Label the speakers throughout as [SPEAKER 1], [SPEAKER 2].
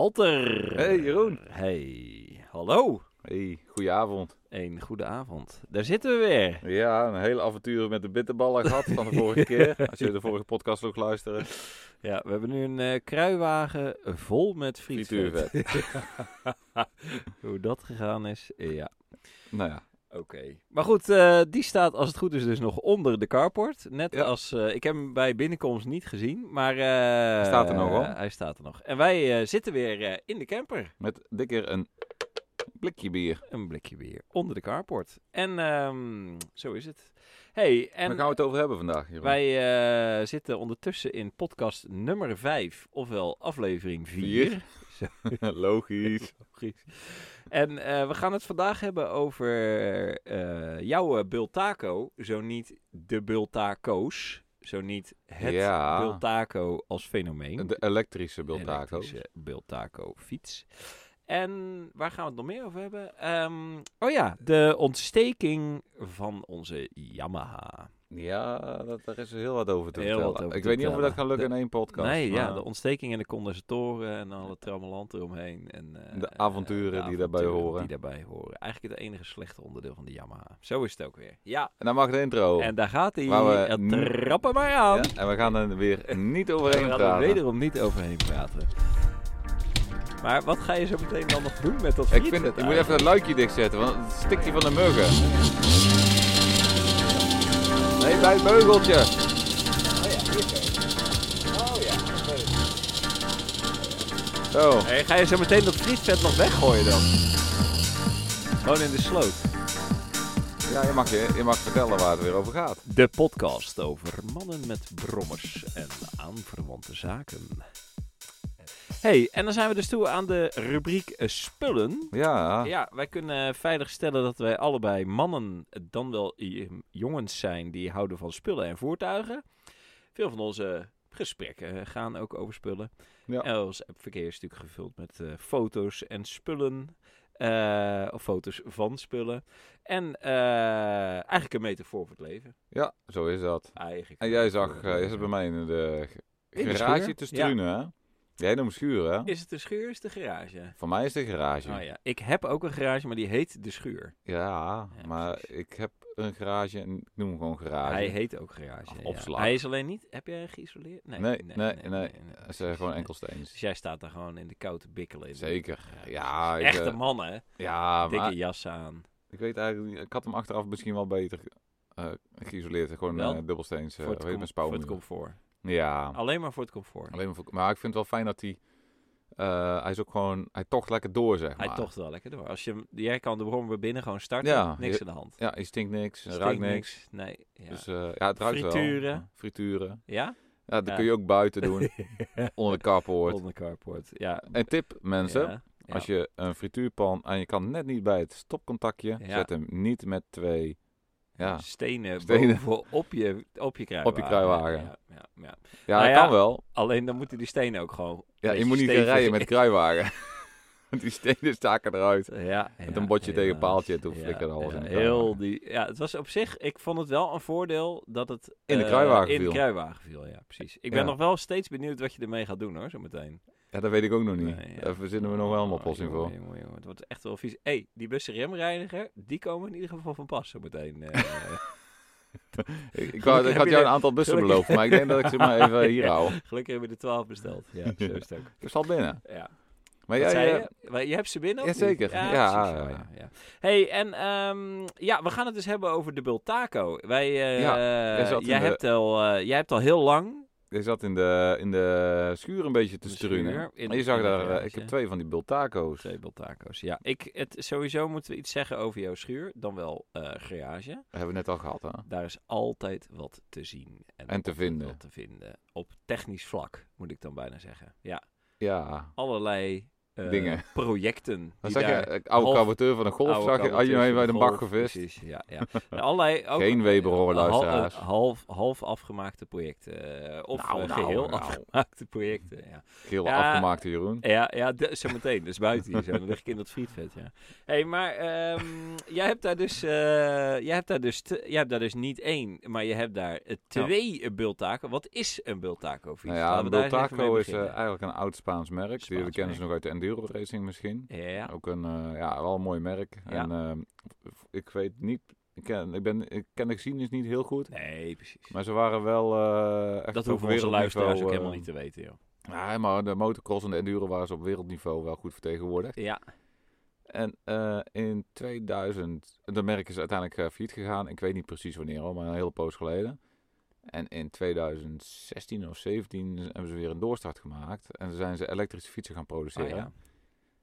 [SPEAKER 1] Walter.
[SPEAKER 2] Hey Jeroen.
[SPEAKER 1] Hey, hallo.
[SPEAKER 2] Hey, goedenavond.
[SPEAKER 1] Een goede avond. Daar zitten we weer.
[SPEAKER 2] Ja, een hele avontuur met de bitterballen gehad van de vorige keer. Als jullie de vorige podcast ook luisteren.
[SPEAKER 1] Ja, we hebben nu een eh, kruiwagen vol met frituur.
[SPEAKER 2] Frituurvet.
[SPEAKER 1] Hoe dat gegaan is, eh, ja.
[SPEAKER 2] Nou ja,
[SPEAKER 1] Oké. Maar goed, eh, die staat als het goed is dus nog onder de carport. Net
[SPEAKER 2] Ja.
[SPEAKER 1] als, eh, ik heb hem bij binnenkomst niet gezien, maar... eh,
[SPEAKER 2] staat er nog wel.
[SPEAKER 1] hij staat er nog. En wij eh, zitten weer eh, in de camper.
[SPEAKER 2] met dit keer een blikje bier.
[SPEAKER 1] Een blikje bier onder de carport. En ehm, zo is het. Hey,
[SPEAKER 2] En
[SPEAKER 1] en
[SPEAKER 2] Waar gaan we het over hebben vandaag, Jeroen?
[SPEAKER 1] wij eh, zitten ondertussen in podcast nummer 5, ofwel aflevering 4.
[SPEAKER 2] Vier. Logisch.
[SPEAKER 1] En eh, we gaan het vandaag hebben over eh, jouw eh, Bultaco, zo niet de Bultaco's, zo niet het
[SPEAKER 2] Ja.
[SPEAKER 1] Bultaco als fenomeen.
[SPEAKER 2] De elektrische Bultaco.
[SPEAKER 1] elektrische Bultaco fiets. En waar gaan we het nog meer over hebben? Ehm, oh ja, de ontsteking van onze Yamaha.
[SPEAKER 2] Ja, dat, daar is heel wat over te
[SPEAKER 1] Heel
[SPEAKER 2] vertellen.
[SPEAKER 1] wat over
[SPEAKER 2] Ik
[SPEAKER 1] te
[SPEAKER 2] weet niet of we dat
[SPEAKER 1] vertellen.
[SPEAKER 2] gaan lukken
[SPEAKER 1] De-
[SPEAKER 2] in één podcast.
[SPEAKER 1] nee, ja,
[SPEAKER 2] maar
[SPEAKER 1] de ontsteking in de condensatoren en alle trammelant eromheen. En, eh,
[SPEAKER 2] De avonturen
[SPEAKER 1] eh,
[SPEAKER 2] die daarbij
[SPEAKER 1] avonturen
[SPEAKER 2] horen.
[SPEAKER 1] Die daarbij horen. Eigenlijk het enige slechte onderdeel van de Yamaha. Zo is het ook weer. Ja,
[SPEAKER 2] En dan mag de intro.
[SPEAKER 1] en daar gaat hij.
[SPEAKER 2] Waar we eh, nu-
[SPEAKER 1] Trappen maar aan.
[SPEAKER 2] Ja, en we gaan er weer niet
[SPEAKER 1] we
[SPEAKER 2] overheen
[SPEAKER 1] gaan er
[SPEAKER 2] praten.
[SPEAKER 1] wederom niet overheen praten. Maar wat ga je zo meteen dan nog doen met dat
[SPEAKER 2] Ik,
[SPEAKER 1] friet?
[SPEAKER 2] vind het, ik moet even dat luikje dichtzetten, want het stikt hier van de muggen. Nee, bij het beugeltje.
[SPEAKER 1] Oh
[SPEAKER 2] Zo.
[SPEAKER 1] Hey, ga je zo meteen dat frietvet nog weggooien dan? Gewoon in de sloot.
[SPEAKER 2] Ja, je mag, je, je mag vertellen waar het weer over gaat.
[SPEAKER 1] De podcast over mannen met brommers en aanverwante zaken. hey, en dan zijn we dus toe aan de rubriek eh, spullen.
[SPEAKER 2] Ja,
[SPEAKER 1] Ja, wij kunnen eh, veilig stellen dat wij allebei mannen, eh, dan wel i- jongens zijn die houden van spullen en voertuigen. Veel van onze gesprekken eh, gaan ook over spullen.
[SPEAKER 2] Ja.
[SPEAKER 1] En ons verkeer is natuurlijk gevuld met eh, foto's en spullen. eh, of foto's van spullen. En eh, eigenlijk een metafoor voor het leven.
[SPEAKER 2] ja, zo is dat.
[SPEAKER 1] Eigenlijk.
[SPEAKER 2] En jij zag, eh, jij zat bij mij in de g-
[SPEAKER 1] In de
[SPEAKER 2] garage
[SPEAKER 1] schuur?
[SPEAKER 2] te struinen, hè? Jij noemt schuur, hè?
[SPEAKER 1] Is het de schuur, is de garage?
[SPEAKER 2] Voor mij is de garage.
[SPEAKER 1] Oh ja, ik heb ook een garage, maar die heet de schuur.
[SPEAKER 2] Ja,
[SPEAKER 1] Ja,
[SPEAKER 2] maar
[SPEAKER 1] precies.
[SPEAKER 2] ik heb een garage en ik noem hem gewoon garage.
[SPEAKER 1] Hij heet ook garage.
[SPEAKER 2] Ach,
[SPEAKER 1] ja.
[SPEAKER 2] opslag.
[SPEAKER 1] Hij is alleen niet. Heb jij geïsoleerd?
[SPEAKER 2] Nee, nee, nee. Dat is eh,
[SPEAKER 1] precies,
[SPEAKER 2] gewoon
[SPEAKER 1] nee.
[SPEAKER 2] enkelsteens.
[SPEAKER 1] Dus jij staat daar gewoon in de kou te bikkelen. in de-
[SPEAKER 2] Zeker.
[SPEAKER 1] precies.
[SPEAKER 2] Ja, ik,
[SPEAKER 1] Echte
[SPEAKER 2] eh,
[SPEAKER 1] man, hè?
[SPEAKER 2] ja
[SPEAKER 1] Dikke
[SPEAKER 2] maar
[SPEAKER 1] jas aan.
[SPEAKER 2] ik weet eigenlijk niet. Ik had hem achteraf misschien wel beter eh, geïsoleerd. Gewoon
[SPEAKER 1] Wel?
[SPEAKER 2] eh dubbelsteens. eh
[SPEAKER 1] voor,
[SPEAKER 2] hoe
[SPEAKER 1] het
[SPEAKER 2] heet het,
[SPEAKER 1] com-
[SPEAKER 2] met
[SPEAKER 1] voor het Oh,
[SPEAKER 2] spouwmuur.
[SPEAKER 1] comfort.
[SPEAKER 2] Ja.
[SPEAKER 1] Alleen maar voor het comfort.
[SPEAKER 2] Alleen maar, voor- maar ik vind het wel fijn dat hij... eh, hij is ook gewoon... Hij tocht lekker door, zeg maar.
[SPEAKER 1] Hij tocht wel lekker door. Als je, hem- jij kan de brommer binnen gewoon starten.
[SPEAKER 2] Ja,
[SPEAKER 1] niks
[SPEAKER 2] je-
[SPEAKER 1] aan de hand.
[SPEAKER 2] Ja, hij stinkt niks. hij
[SPEAKER 1] Stinkt
[SPEAKER 2] ruikt niks.
[SPEAKER 1] Nee. Ja?
[SPEAKER 2] Dus eh, ja, het ruikt wel.
[SPEAKER 1] Frituren.
[SPEAKER 2] Ja, Frituren.
[SPEAKER 1] ja?
[SPEAKER 2] Ja, dat
[SPEAKER 1] Ja.
[SPEAKER 2] kun je ook buiten doen. onder de carport.
[SPEAKER 1] Onder de carport. Ja.
[SPEAKER 2] En tip, mensen.
[SPEAKER 1] Ja. Ja.
[SPEAKER 2] Als je een frituurpan en je kan net niet bij het stopcontactje,
[SPEAKER 1] Ja.
[SPEAKER 2] zet hem niet met twee. Ja,
[SPEAKER 1] Stenen,
[SPEAKER 2] Stenen.
[SPEAKER 1] boven op je, op je kruiwagen.
[SPEAKER 2] kruiwagen.
[SPEAKER 1] Ja, ja, ja.
[SPEAKER 2] ja
[SPEAKER 1] Nou
[SPEAKER 2] dat
[SPEAKER 1] ja,
[SPEAKER 2] kan wel.
[SPEAKER 1] Alleen dan moeten die stenen ook gewoon...
[SPEAKER 2] Ja, je
[SPEAKER 1] beetje
[SPEAKER 2] moet niet gaan
[SPEAKER 1] stevig
[SPEAKER 2] rijden met kruiwagen. Want die stenen staken eruit.
[SPEAKER 1] Ja, met
[SPEAKER 2] een botje tegen een paaltje en toen flikkerde alles in de
[SPEAKER 1] heel
[SPEAKER 2] kruiwagen.
[SPEAKER 1] die, ja, het was op zich, ik vond het wel een voordeel dat het
[SPEAKER 2] In de
[SPEAKER 1] eh,
[SPEAKER 2] kruiwagen
[SPEAKER 1] in de
[SPEAKER 2] viel.
[SPEAKER 1] kruiwagen viel. Ja, precies. Ik ben
[SPEAKER 2] Ja.
[SPEAKER 1] nog wel steeds benieuwd wat je ermee gaat doen hoor, zo meteen.
[SPEAKER 2] Ja, dat weet ik ook nog niet.
[SPEAKER 1] Nee, ja.
[SPEAKER 2] Daar verzinnen we nog wel een
[SPEAKER 1] Oh,
[SPEAKER 2] oplossing
[SPEAKER 1] jongen,
[SPEAKER 2] voor.
[SPEAKER 1] jongen, jongen, het wordt echt wel vies. Hé, hey, die bussenremreiniger, die komen in ieder geval van pas zo meteen. eh.
[SPEAKER 2] Ik, ik,
[SPEAKER 1] Gelukkig
[SPEAKER 2] had, ik
[SPEAKER 1] heb
[SPEAKER 2] had
[SPEAKER 1] je
[SPEAKER 2] jou
[SPEAKER 1] de-
[SPEAKER 2] een aantal bussen
[SPEAKER 1] gelukkig-
[SPEAKER 2] beloofd, maar ik denk dat ik ze maar even hier
[SPEAKER 1] Ja.
[SPEAKER 2] hou.
[SPEAKER 1] gelukkig hebben we de 12 besteld. Ja, zo is het ook.
[SPEAKER 2] Ik zal binnen.
[SPEAKER 1] Ja.
[SPEAKER 2] Maar
[SPEAKER 1] Wat
[SPEAKER 2] jij,
[SPEAKER 1] zei
[SPEAKER 2] eh,
[SPEAKER 1] je? Maar je hebt ze binnen? of niet?
[SPEAKER 2] Jazeker,
[SPEAKER 1] precies, Oh,
[SPEAKER 2] ja.
[SPEAKER 1] ja, ja, ja. hey, en ehm, ja, we gaan het dus hebben over de Bultaco. Wij, eh,
[SPEAKER 2] Ja, jij zat in
[SPEAKER 1] jij,
[SPEAKER 2] de-
[SPEAKER 1] hebt al, eh, jij hebt al heel lang...
[SPEAKER 2] je zat in de, in de schuur een beetje te
[SPEAKER 1] De
[SPEAKER 2] struinen.
[SPEAKER 1] schuur, in-
[SPEAKER 2] En je zag
[SPEAKER 1] in de
[SPEAKER 2] daar, eh,
[SPEAKER 1] garage.
[SPEAKER 2] ik heb twee van die bultaco's.
[SPEAKER 1] Twee Bultaco's, ja. Ik, het, sowieso moeten we iets zeggen over jouw schuur, dan wel eh, garage.
[SPEAKER 2] hebben we net al gehad, hè?
[SPEAKER 1] Daar is altijd wat te zien.
[SPEAKER 2] En te
[SPEAKER 1] altijd
[SPEAKER 2] vinden.
[SPEAKER 1] Wat te vinden. Op technisch vlak, moet ik dan bijna zeggen. Ja,
[SPEAKER 2] Ja.
[SPEAKER 1] allerlei eh, eh,
[SPEAKER 2] Dingen.
[SPEAKER 1] projecten.
[SPEAKER 2] Dan
[SPEAKER 1] die
[SPEAKER 2] zeg
[SPEAKER 1] daar-
[SPEAKER 2] je, eh, oude
[SPEAKER 1] half-
[SPEAKER 2] caboteur van een golf,
[SPEAKER 1] oude
[SPEAKER 2] zag je, ah, je
[SPEAKER 1] kabeltjes
[SPEAKER 2] hebt
[SPEAKER 1] van
[SPEAKER 2] bij de bak
[SPEAKER 1] golf,
[SPEAKER 2] gevist.
[SPEAKER 1] Precies, ja. ja. Nou, allerlei, ook,
[SPEAKER 2] Geen Weber hoor,
[SPEAKER 1] eh, hal-
[SPEAKER 2] luisteraars.
[SPEAKER 1] eh, Half, half afgemaakte projecten. eh, of
[SPEAKER 2] Nou,
[SPEAKER 1] eh,
[SPEAKER 2] nou,
[SPEAKER 1] geheel
[SPEAKER 2] nou.
[SPEAKER 1] afgemaakte projecten, ja.
[SPEAKER 2] Geel
[SPEAKER 1] Ja.
[SPEAKER 2] afgemaakte Jeroen.
[SPEAKER 1] Ja, ja de, zo meteen. Dus buiten hier zo. Dan lig ik in dat frietvet, ja. hey, maar ehm, jij hebt daar dus... eh, jij, hebt daar dus te- jij hebt daar dus niet één, maar je hebt daar eh, twee eh, bultaco. Wat is een bultaco, fiets?
[SPEAKER 2] Nou ja, een
[SPEAKER 1] Laten we daar eens even mee
[SPEAKER 2] Bultaco is eh,
[SPEAKER 1] beginnen.
[SPEAKER 2] eigenlijk een oud Spaans merk.
[SPEAKER 1] Spaans
[SPEAKER 2] Jullie kennen
[SPEAKER 1] merk.
[SPEAKER 2] ze nog uit de enduro racing misschien.
[SPEAKER 1] Ja,
[SPEAKER 2] Ook een, eh, ja, wel een mooi merk.
[SPEAKER 1] Ja.
[SPEAKER 2] En ehm, ik weet niet, ik ken, ik ben, ik ken de geschiedenis niet heel goed.
[SPEAKER 1] nee, precies.
[SPEAKER 2] Maar ze waren wel eh echt
[SPEAKER 1] dat
[SPEAKER 2] op
[SPEAKER 1] hoeven onze
[SPEAKER 2] wereldniveau,
[SPEAKER 1] luisteraars ook
[SPEAKER 2] eh,
[SPEAKER 1] helemaal niet te weten, joh.
[SPEAKER 2] Nee, maar de motocross en de enduro waren ze op wereldniveau wel goed vertegenwoordigd.
[SPEAKER 1] Ja,
[SPEAKER 2] En eh, in 2000, dat merk is uiteindelijk eh, failliet gegaan. Ik weet niet precies wanneer al, maar een hele poos geleden. En in 2016 of 17 hebben ze weer een doorstart gemaakt. En zijn ze elektrische fietsen gaan
[SPEAKER 1] ah,
[SPEAKER 2] produceren.
[SPEAKER 1] ja.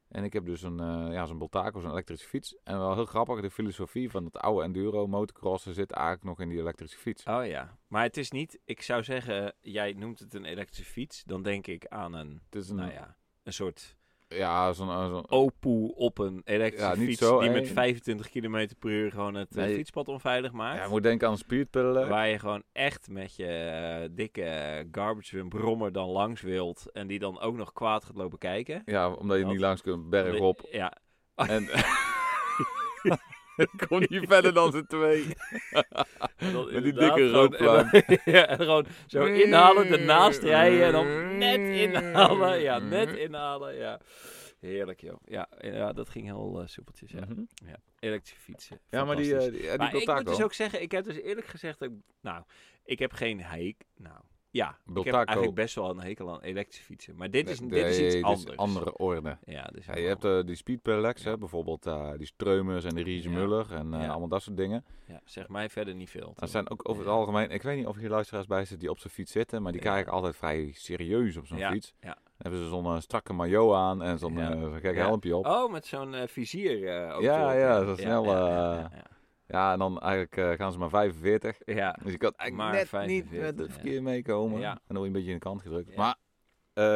[SPEAKER 2] En ik heb dus een, eh, ja, zo'n Boltaco, zo'n elektrische fiets. En wel heel grappig, de filosofie van het oude enduro motocrossen zit eigenlijk nog in die elektrische fiets.
[SPEAKER 1] Oh ja, maar het is niet... Ik zou zeggen, jij noemt het een elektrische fiets. Dan denk ik aan een,
[SPEAKER 2] Het is een,
[SPEAKER 1] nou ja, een soort
[SPEAKER 2] ja, zo'n, eh, zo'n-
[SPEAKER 1] opoe op een elektrische
[SPEAKER 2] Ja, niet
[SPEAKER 1] fiets
[SPEAKER 2] zo,
[SPEAKER 1] die
[SPEAKER 2] hè?
[SPEAKER 1] met 25 km per uur gewoon het eh,
[SPEAKER 2] Nee.
[SPEAKER 1] fietspad onveilig maakt.
[SPEAKER 2] ja, je moet denken aan speedpillen.
[SPEAKER 1] Waar je gewoon echt met je eh, dikke garbage bin brommer dan langs wilt. En die dan ook nog kwaad gaat lopen kijken.
[SPEAKER 2] Ja, omdat je
[SPEAKER 1] Dat-
[SPEAKER 2] niet langs kunt bergop.
[SPEAKER 1] Ja.
[SPEAKER 2] En ik kon niet verder dan ze twee.
[SPEAKER 1] En dan
[SPEAKER 2] Met die
[SPEAKER 1] inderdaad
[SPEAKER 2] dikke
[SPEAKER 1] gewoon-
[SPEAKER 2] rookpluim.
[SPEAKER 1] en dan- Ja, en gewoon zo inhalen, ernaast rijden en dan net inhalen. Ja, net inhalen, ja. Heerlijk, joh. Ja, ja dat ging heel eh, soepeltjes, ja.
[SPEAKER 2] Mhm.
[SPEAKER 1] Elektrische fietsen.
[SPEAKER 2] Ja, maar die,
[SPEAKER 1] fantastisch.
[SPEAKER 2] eh, die, eh, die
[SPEAKER 1] maar ik moet
[SPEAKER 2] Bultaco.
[SPEAKER 1] dus ook zeggen, ik heb dus eerlijk gezegd, ook, nou, ik heb geen heik, nou, ja, ik
[SPEAKER 2] Bultaco.
[SPEAKER 1] heb eigenlijk best wel een hekel aan elektrische fietsen, maar dit is,
[SPEAKER 2] Nee,
[SPEAKER 1] dit is
[SPEAKER 2] nee,
[SPEAKER 1] iets
[SPEAKER 2] dit
[SPEAKER 1] anders.
[SPEAKER 2] andere orde.
[SPEAKER 1] Ja, dit is
[SPEAKER 2] Ja, je
[SPEAKER 1] helemaal
[SPEAKER 2] hebt eh, die speedpellets, hè, bijvoorbeeld eh, die Streumers en de Riese
[SPEAKER 1] Ja.
[SPEAKER 2] Muller en eh,
[SPEAKER 1] Ja.
[SPEAKER 2] allemaal dat soort dingen.
[SPEAKER 1] anders. ja, zeg mij verder niet veel.
[SPEAKER 2] Dat
[SPEAKER 1] toch?
[SPEAKER 2] zijn ook over het
[SPEAKER 1] Ja.
[SPEAKER 2] algemeen, ik weet niet of hier luisteraars bij zitten die op zijn fiets zitten, maar die
[SPEAKER 1] Ja.
[SPEAKER 2] kijken altijd vrij serieus op zo'n
[SPEAKER 1] Ja,
[SPEAKER 2] fiets.
[SPEAKER 1] ja.
[SPEAKER 2] Dan hebben ze zo'n eh, strakke maillot aan en zo'n
[SPEAKER 1] Ja.
[SPEAKER 2] eh, zo'n gek
[SPEAKER 1] Ja.
[SPEAKER 2] helmpje op.
[SPEAKER 1] Oh, met zo'n eh, vizier eh, ook
[SPEAKER 2] Ja, eh,
[SPEAKER 1] erop,
[SPEAKER 2] ja, zo snel,
[SPEAKER 1] ja, ja,
[SPEAKER 2] Ja, en dan eigenlijk eh, gaan ze maar 45.
[SPEAKER 1] ja. Ja,
[SPEAKER 2] Dus je kan eigenlijk
[SPEAKER 1] Maar
[SPEAKER 2] net
[SPEAKER 1] 45,
[SPEAKER 2] niet met het
[SPEAKER 1] ja.
[SPEAKER 2] verkeer meekomen.
[SPEAKER 1] Ja.
[SPEAKER 2] En dan word je een beetje in de kant gedrukt.
[SPEAKER 1] Ja.
[SPEAKER 2] Maar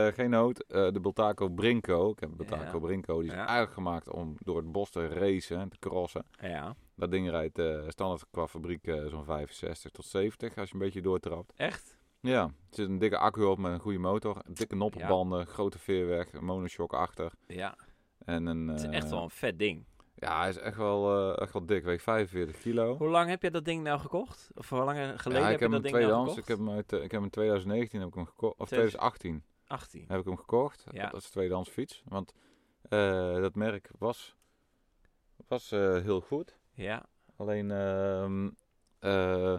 [SPEAKER 2] eh, geen nood. Eh, de Bultaco Brinco. Ik heb een Bultaco
[SPEAKER 1] Ja.
[SPEAKER 2] Brinco. Die is
[SPEAKER 1] Ja.
[SPEAKER 2] eigenlijk gemaakt om door het bos te racen en te crossen.
[SPEAKER 1] ja.
[SPEAKER 2] Dat ding rijdt eh, standaard qua fabriek eh, zo'n 65 tot 70 als je een beetje doortrapt.
[SPEAKER 1] echt?
[SPEAKER 2] Ja, er zit een dikke accu op met een goede motor. Dikke noppenbanden, grote veerweg, een monoshock achter.
[SPEAKER 1] Ja,
[SPEAKER 2] En een,
[SPEAKER 1] het is echt
[SPEAKER 2] eh,
[SPEAKER 1] wel een vet ding.
[SPEAKER 2] Ja, hij is echt wel, eh, echt wel dik. Weegt 45 kilo.
[SPEAKER 1] Hoe lang heb je dat ding nou gekocht? Of hoe lang geleden
[SPEAKER 2] oh. ja,
[SPEAKER 1] heb
[SPEAKER 2] ik
[SPEAKER 1] je dat
[SPEAKER 2] heb hem
[SPEAKER 1] ding nou
[SPEAKER 2] tweedehands.
[SPEAKER 1] gekocht?
[SPEAKER 2] Ik heb hem, uit, eh, ik heb hem in 2019 heb ik hem gekocht. Of
[SPEAKER 1] 2000.
[SPEAKER 2] 2018.
[SPEAKER 1] 18.
[SPEAKER 2] heb ik hem gekocht.
[SPEAKER 1] Ja.
[SPEAKER 2] Dat is tweedehands fiets. Want eh, dat merk was, was eh, heel goed.
[SPEAKER 1] Ja,
[SPEAKER 2] Alleen ehm, eh,